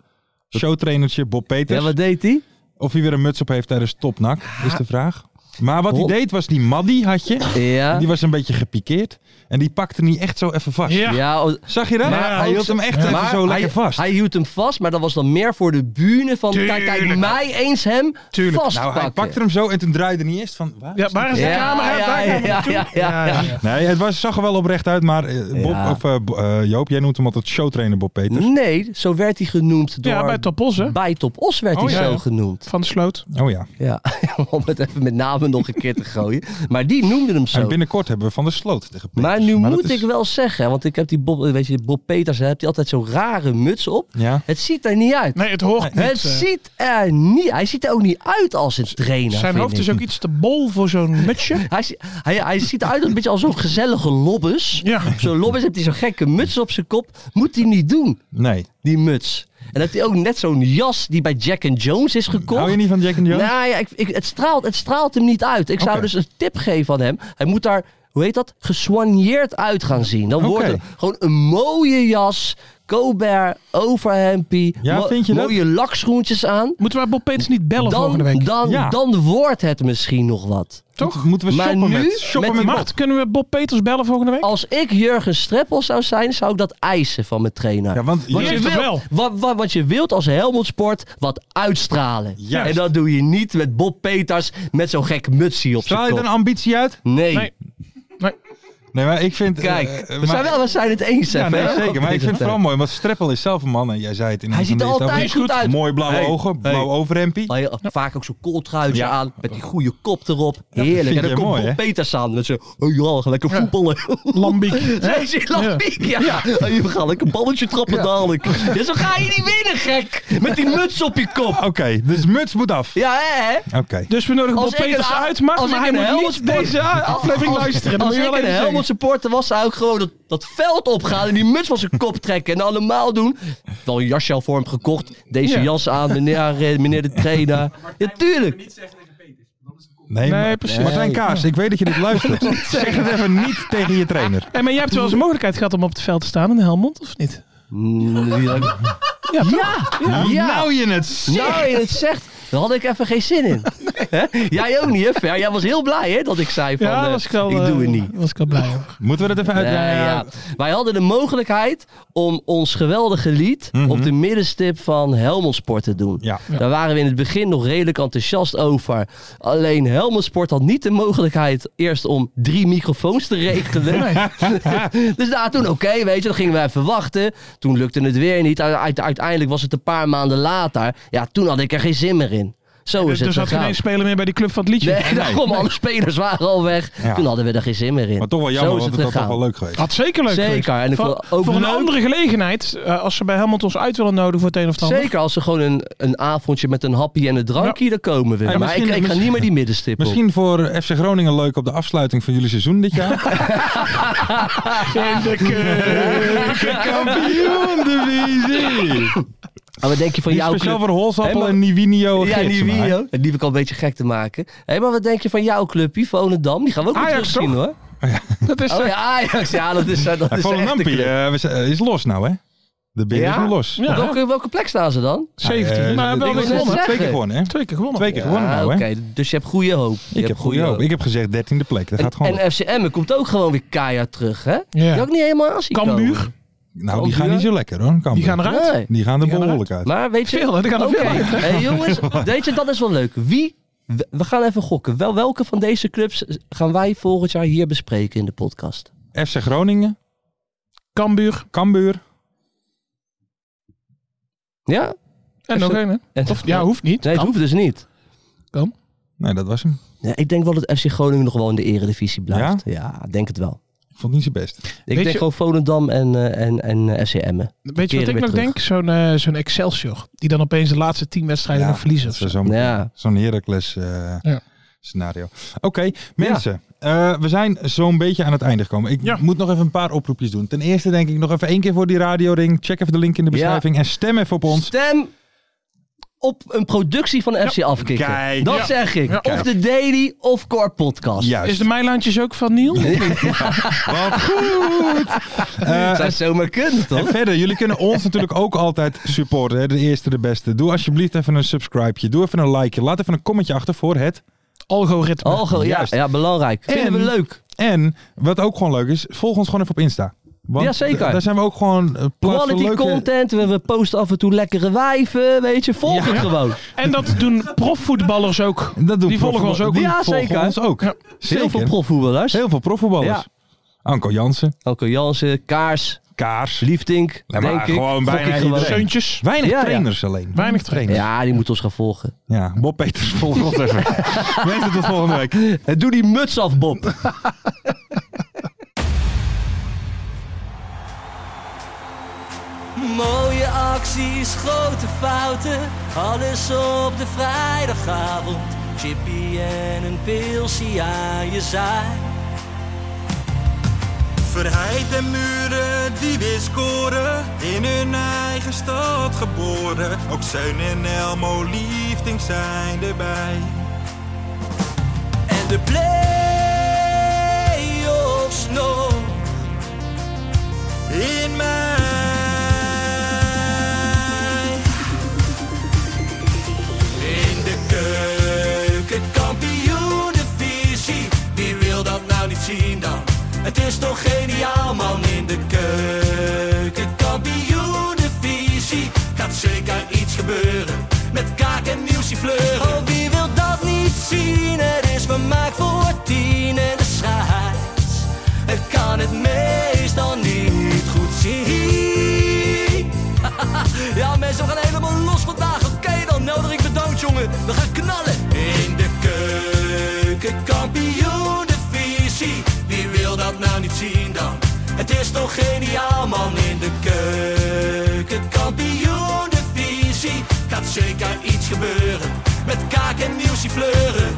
E: Showtrainertje Bob Peters.
F: ja, wat deed hij?
E: Of hij weer een muts op heeft tijdens topnak, is de vraag. Maar wat hij
F: Hol-
E: deed was die Maddy had je.
F: Oh. Ja.
E: Die was een beetje gepikeerd. En die pakte niet echt zo even vast.
G: Ja.
F: Ja, oh,
E: Zag je dat?
F: Maar
E: hij
F: ook
E: hield
F: zo-
E: hem echt even
F: maar
E: zo lekker
F: hij,
E: vast.
F: Hij hield hem vast, maar dat was dan meer voor de bühne van kijk, kijk mij eens hem vastpakken.
E: nou, hij pakte hem zo en toen draaide hij eerst van... Waar?
G: Ja, waar is de
F: Ja, ja,
G: camera? Daar gaan we
F: ja,
G: naartoe.
F: ja, ja, ja.
E: Nee, het was, zag er wel oprecht uit, maar eh, Bob,
F: Ja.
E: of, eh, Bo- eh, Joop, jij noemt hem altijd showtrainer Bob Peters.
F: Nee, zo werd hij genoemd door...
G: Ja, bij Topos, hè?
F: Bij Top Os werd
G: Oh,
F: hij
G: ja,
F: zo
G: ja.
F: genoemd.
G: Van de sloot.
E: Oh ja.
F: Ja, om het even met namen nog een keer te gooien. Maar die noemde hem zo.
E: En binnenkort hebben we Van der Sloot tegen Peters.
F: Maar nu
E: dat
F: moet ik
E: is-
F: wel zeggen, want ik heb die Bob, weet je, Bob Peters, hè, heeft hij altijd zo'n rare muts op.
E: Ja.
F: Het ziet er niet uit.
G: Nee, het hoort niet.
F: het
G: eh.
F: ziet er niet. Hij ziet er ook niet uit als een trainer.
G: Zijn
F: vind
G: hoofd
F: ik.
G: is ook iets te bol voor zo'n mutsje.
F: Hij, zi- hij, hij ziet eruit als een beetje als zo'n gezellige lobbes.
G: Ja.
F: Zo'n lobbes heeft hij zo'n gekke muts op zijn kop. Moet hij niet doen,
E: Nee.
F: die muts. En dan heeft hij ook net zo'n jas die bij Jack and Jones is gekocht.
E: Hou je niet van Jack and Jones?
F: Nou ja, ik, ik, het, straalt, het straalt hem niet uit. Ik zou
E: Oké.
F: dus een tip geven aan hem. Hij moet daar, hoe heet dat, gesoigneerd uit gaan zien. Dan wordt
E: Oké.
F: het gewoon een mooie jas, Colbert, overhempie.
E: Ja, vind je dat?
F: Mooie lakschoentjes aan.
G: Moeten we Bob Peters niet bellen
F: Dan,
G: volgende week?
F: dan,
E: Ja.
F: dan wordt het misschien nog wat.
E: Toch? Moeten we
F: Maar
E: shoppen
F: nu,
E: met... Shoppen
F: met
E: met,
F: die
E: Bob.
G: Mart, kunnen we Bob Peters bellen volgende week?
F: Als ik Jurgen Streppel zou zijn, zou ik dat eisen van mijn trainer.
E: Ja, want...
G: Want
E: Ja,
G: je heeft
F: wilt,
G: het wel.
F: Wat, wat, wat je wilt als Helmond Sport, wat uitstralen.
E: Juist.
F: En dat doe je niet met Bob Peters met zo'n gek mutsie op
E: Straal
F: zijn
E: je
F: kop.
E: dan ambitie uit?
F: Nee.
G: Nee.
E: Nee, maar ik vind... eh,
F: Kijk,
E: eh,
F: we,
E: maar-
F: zijn wel, we zijn het eens.
E: Ja,
F: even,
E: nee,
F: hè?
E: zeker. Maar ik vind het vooral mooi, want Streppel is zelf een man. En jij zei het in een
F: Hij
E: van
F: ziet
E: de
F: er
E: eerste
F: altijd
E: afleveringen.
F: goed uit.
E: Mooi blauwe
F: Hey,
E: ogen,
F: hey.
E: blauw overhempie.
F: Maar heel- Vaak ook zo'n kooltruitje
E: Ja.
F: aan, met die goede kop erop.
E: vind
F: Heerlijk. En
E: je
F: dan komt
E: mooi, hè?
F: Bob Peters aan met zijn, oh ja, gaan lekker voetballen.
G: Lambiek.
F: Zij is in Lambiek, ja. Oh, je gaat lekker een balletje trappen dadelijk. Ja, zo ga je niet winnen, gek. Met die muts op je kop.
E: Oké, dus muts moet af.
F: Ja, hè?
E: Oké.
G: Dus we nodigen
F: Als
G: Bob
F: ik een
G: Peters
F: a-
G: uit, mag,
F: als
G: maar
F: ik
G: hij
F: een
G: moet
F: Helmond
G: niet
F: Sport-
G: deze aflevering
F: Als-
G: luisteren.
F: Als
G: Dat moet je
F: ik een
G: wel even
F: Helmond
G: zeggen.
F: supporter was, zou ik gewoon dat, dat veld opgaan en die muts van zijn kop trekken. En dan normaal doen. Wel een jasje al voor hem gekocht. Deze
G: Ja.
F: jas aan, meneer, eh, meneer de trainer. Ja, tuurlijk.
E: Nee,
G: Nee,
E: maar-
G: precies.
E: Martijn Kaas, ik weet dat je dit luistert. zeg het even niet tegen je trainer.
G: Hey, maar jij hebt wel eens de mogelijkheid gehad om op het veld te staan in Helmond, of niet?
F: Ja, ja.
E: Nou je het zegt.
F: Nou, je het zegt. Daar had ik even geen zin in. Hè? Jij ook niet, hè, Fer? Jij was heel blij, hè, dat ik zei van,
G: Ja,
F: eh,
G: was ik wel, eh,
F: doe het niet.
G: Was ik wel blij over.
E: Moeten we dat even uit...
F: Nee, Eh, ja, Wij hadden de mogelijkheid om ons geweldige lied op de middenstip van Helmond Sport te doen.
E: Mhm. Ja.
F: Daar waren we in het begin nog redelijk enthousiast over. Alleen Helmond Sport had niet de mogelijkheid eerst om drie microfoons te regelen. dus daar toen, oké, weet je, dan gingen we even wachten. Toen lukte het weer niet. Uite- uite- Uiteindelijk was het een paar maanden later. Ja, toen had ik er geen zin meer in. Zo is
G: Dus
F: het
G: er zat geen
F: gegaan.
G: één speler meer bij die club van het liedje.
F: Nee, nou. daarom, alle spelers waren al weg.
E: Ja.
F: Toen hadden we er geen zin meer in.
E: Maar toch wel
F: Zo
E: jammer,
F: is
E: want
F: het
E: het had toch
F: gegaan. Ah,
E: wel leuk geweest.
G: Had zeker leuk
F: Zeker,
G: geweest.
F: en ik
G: Voor-
F: vond het ook
G: Voor een
F: leuk-
G: andere gelegenheid, eh, als ze bij Helmond ons uit willen nodigen voor het een of het ander.
F: Zeker als ze gewoon een, een avondje met een happy en een drankje, dan komen we.
E: Ja,
F: maar ik,
E: misschien-
F: ik ga niet meer die middenstip op.
E: Misschien voor FC Groningen leuk op de afsluiting van jullie seizoen dit jaar.
G: In de
E: Kampioendivisie!
F: Ah, wat denk je van
E: Die
F: jouw
E: speciaal
F: club?
E: voor Holzappel
F: Hey, maar-
E: en Nivinio.
F: Ja, die video. Die heb ik al een beetje gek te maken. Hé, maar wat denk je van jouw clubje, Volendam? Die gaan we ook weer
G: Ajax,
F: terugzien hoor.
G: Dat is
F: Oh ja, Ajax. Ja, dat is, dat is echt de
E: Volendampi
F: club.
E: eh, we z- eh, is los nou, hè? De beer
F: Ja?
E: is nu los.
G: Ja.
F: Op welke, welke plek staan ze dan?
G: 17.
E: Eh,
G: maar
E: de-
G: wel
F: ik
G: weer
F: wil net
G: gewonnen.
F: zeggen.
E: Twee keer gewonnen, hè?
G: Twee keer gewonnen.
E: Twee keer gewonnen nou, hè?
F: oké. Dus je hebt goede hoop. Je
E: Ik heb goede hoop. Ik heb gezegd dertiende plek. Dat gaat gewoon...
F: En, en FCM komt ook gewoon weer keihard terug, hè? Die had ook niet helemaal als
G: Cambuur,
E: nou, die
F: Cambuur.
E: gaan niet zo lekker, hoor. Cambuur.
G: die gaan eruit.
F: Nee.
E: Die gaan er
G: Die gaan
E: behoorlijk uit.
F: Maar weet je...
G: Veel, hè? Er gaan er
F: Oké.
G: veel uit.
F: Hey, jongens, weet je, dat is wel leuk. Wie... we- We gaan even gokken. Wel, welke van deze clubs gaan wij volgend jaar hier bespreken in de podcast?
E: FC Groningen,
G: Cambuur.
E: Cambuur.
F: Ja?
G: En nog één, hè?
F: En-
G: Of, ja, hoeft niet.
F: Nee, het hoeft dus niet.
E: Nee, dat was hem.
F: Ja, ik denk wel dat FC Groningen nog wel in de eredivisie blijft. Ja, denk het wel.
E: Ik vond het niet zijn best.
F: Ik
G: je-
F: denk gewoon Volendam en, eh, en, en eh, FC Emmen.
G: Weet je wat
F: Keren
G: ik
F: weer
G: nog
F: terug.
G: denk? Zo'n eh, zo'n Excelsior. Die dan opeens de laatste tien wedstrijden
E: Ja,
G: nog verliezen.
E: Dat
G: of
E: is
G: zo.
E: zo'n
F: Ja.
E: zo'n Heracles eh,
G: Ja.
E: scenario. Oké, mensen. eh, we zijn zo'n beetje aan het einde gekomen. Ik
G: Ja.
E: moet nog even een paar oproepjes doen. Ten eerste denk ik nog even één keer voor die radioring. Check even de link in de
F: Ja.
E: beschrijving en stem even op ons.
F: Stem op een productie van FC afkicken.
E: Kijk.
F: dat
G: Ja.
F: zeg ik.
G: Ja.
F: Of de Daily of Core Podcast.
E: Juist.
G: Is de Meilandjes ook van Niel?
E: Eh,
F: Zou zomaar kunnen,
E: en
F: toch?
E: verder, jullie kunnen ons natuurlijk ook altijd supporten. Hè? De eerste, de beste. Doe alsjeblieft even een subscribeje. Doe even een likeje. Laat even een commentje achter voor het.
G: Algoritme.
F: Algo, Oh, ja,
E: Juist.
F: ja, belangrijk. Vinden we
E: En-
F: leuk.
E: En wat ook gewoon leuk is, volg ons gewoon even op Insta. Want
F: Jazeker.
E: d- Daar zijn we ook gewoon eh, plaats voor
F: Quality
E: leuke...
F: content. We, we posten af en toe lekkere wijven. Weet je, volg het gewoon.
G: En dat doen profvoetballers ook.
E: Dat doen
G: Die volgen ons ook.
E: Die
F: Ja,
E: volgen
F: zeker.
E: ons ook. Zeker.
F: Heel veel profvoetballers.
E: Heel veel profvoetballers. Anko Jansen,
F: Elke Jansen, Kaars,
E: Kaars.
F: Liefdink.
E: Ja, maar
F: denk ik.
E: gewoon
F: Gok
E: bijna
F: ik gewoon.
E: iedereen.
G: Zeuntjes.
E: Weinig
F: Ja, ja.
E: trainers alleen.
G: Weinig trainers.
F: Ja, die moeten ons gaan volgen.
E: Ja, Bob Peters, volg ons even. Mensen tot volgende week.
F: En doe die muts af, Bob.
C: Mooie acties, grote fouten, alles op de vrijdagavond. Chippy en een pilsie aan je zaai. Verheid en muren die weer scoren, in hun eigen stad geboren. Ook Zeun en Elmo liefdings zijn erbij. En de play-offs nog in mij. In de keuken, kampioen de visie. Wie wil dat nou niet zien dan? Het is toch geniaal man in de keuken, kampioen de visie. Gaat zeker iets gebeuren met kaak en nieuwsie fleuren. Oh, wie wil dat niet zien? Het is vermaakt voor tien en de scheids. Het kan het meestal niet goed zien. Ja, mensen, we gaan helemaal los vandaag. Oké, dan nodig ik bedankt, jongen. We gaan knallen. In de keuken, kampioen, de visie. Wie wil dat nou niet zien dan? Het is toch geniaal, man. In de keuken, kampioen, de visie. Gaat zeker iets gebeuren. Met kaak en nieuwsie fleuren.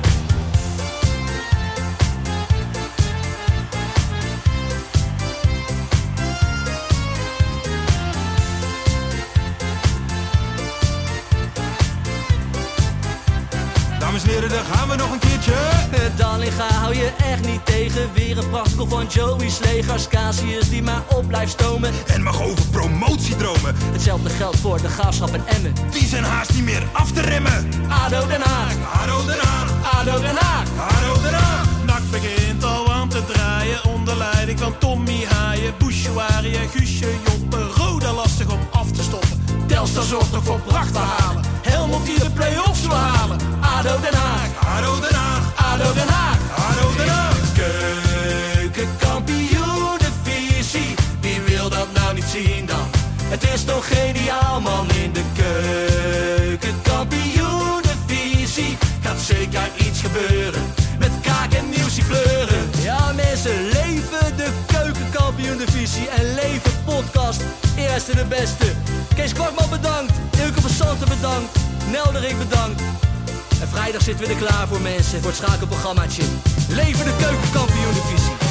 J: Dames en heren, daar gaan we nog een keertje.
C: Het Dallinga Eh, hou je echt niet tegen. Weer een prachtkel van Joey's legers. Casius die maar op blijft stomen.
J: En mag over promotiedromen.
C: Hetzelfde geldt voor de graafschap en Emmen.
J: Die zijn haast niet meer af te remmen.
C: ADO Den Haag,
J: Haro eraan,
C: ADO Den Haag.
J: haro eraan.
K: Nak begint al aan te draaien onder leiding van Tommy Haaien, Bouchouari en Guusje Joppen. Roda lastig om af te stoppen. Telstar zorgt nog voor pracht te halen. Helmond die de play-offs wil halen.
C: ADO Den Haag,
J: Haro eraan,
C: ADO Den Haag.
J: haro eraan.
C: Keukenkampioenenvisie, wie wil dat nou niet zien dan? Het is toch geniaal man in de keukenkampioenenvisie. Gaat zeker iets gebeuren, met kaak en nieuwsie fleuren. Ja mensen, leven de keukenkampioenenvisie en leven podcast. Eerste de beste. Kees Kwakman bedankt, Ilke van Santen bedankt, Nelderik bedankt. En vrijdag zitten we er klaar voor mensen, voor het schakelprogrammaatje. Leven de keukenkampioen divisie.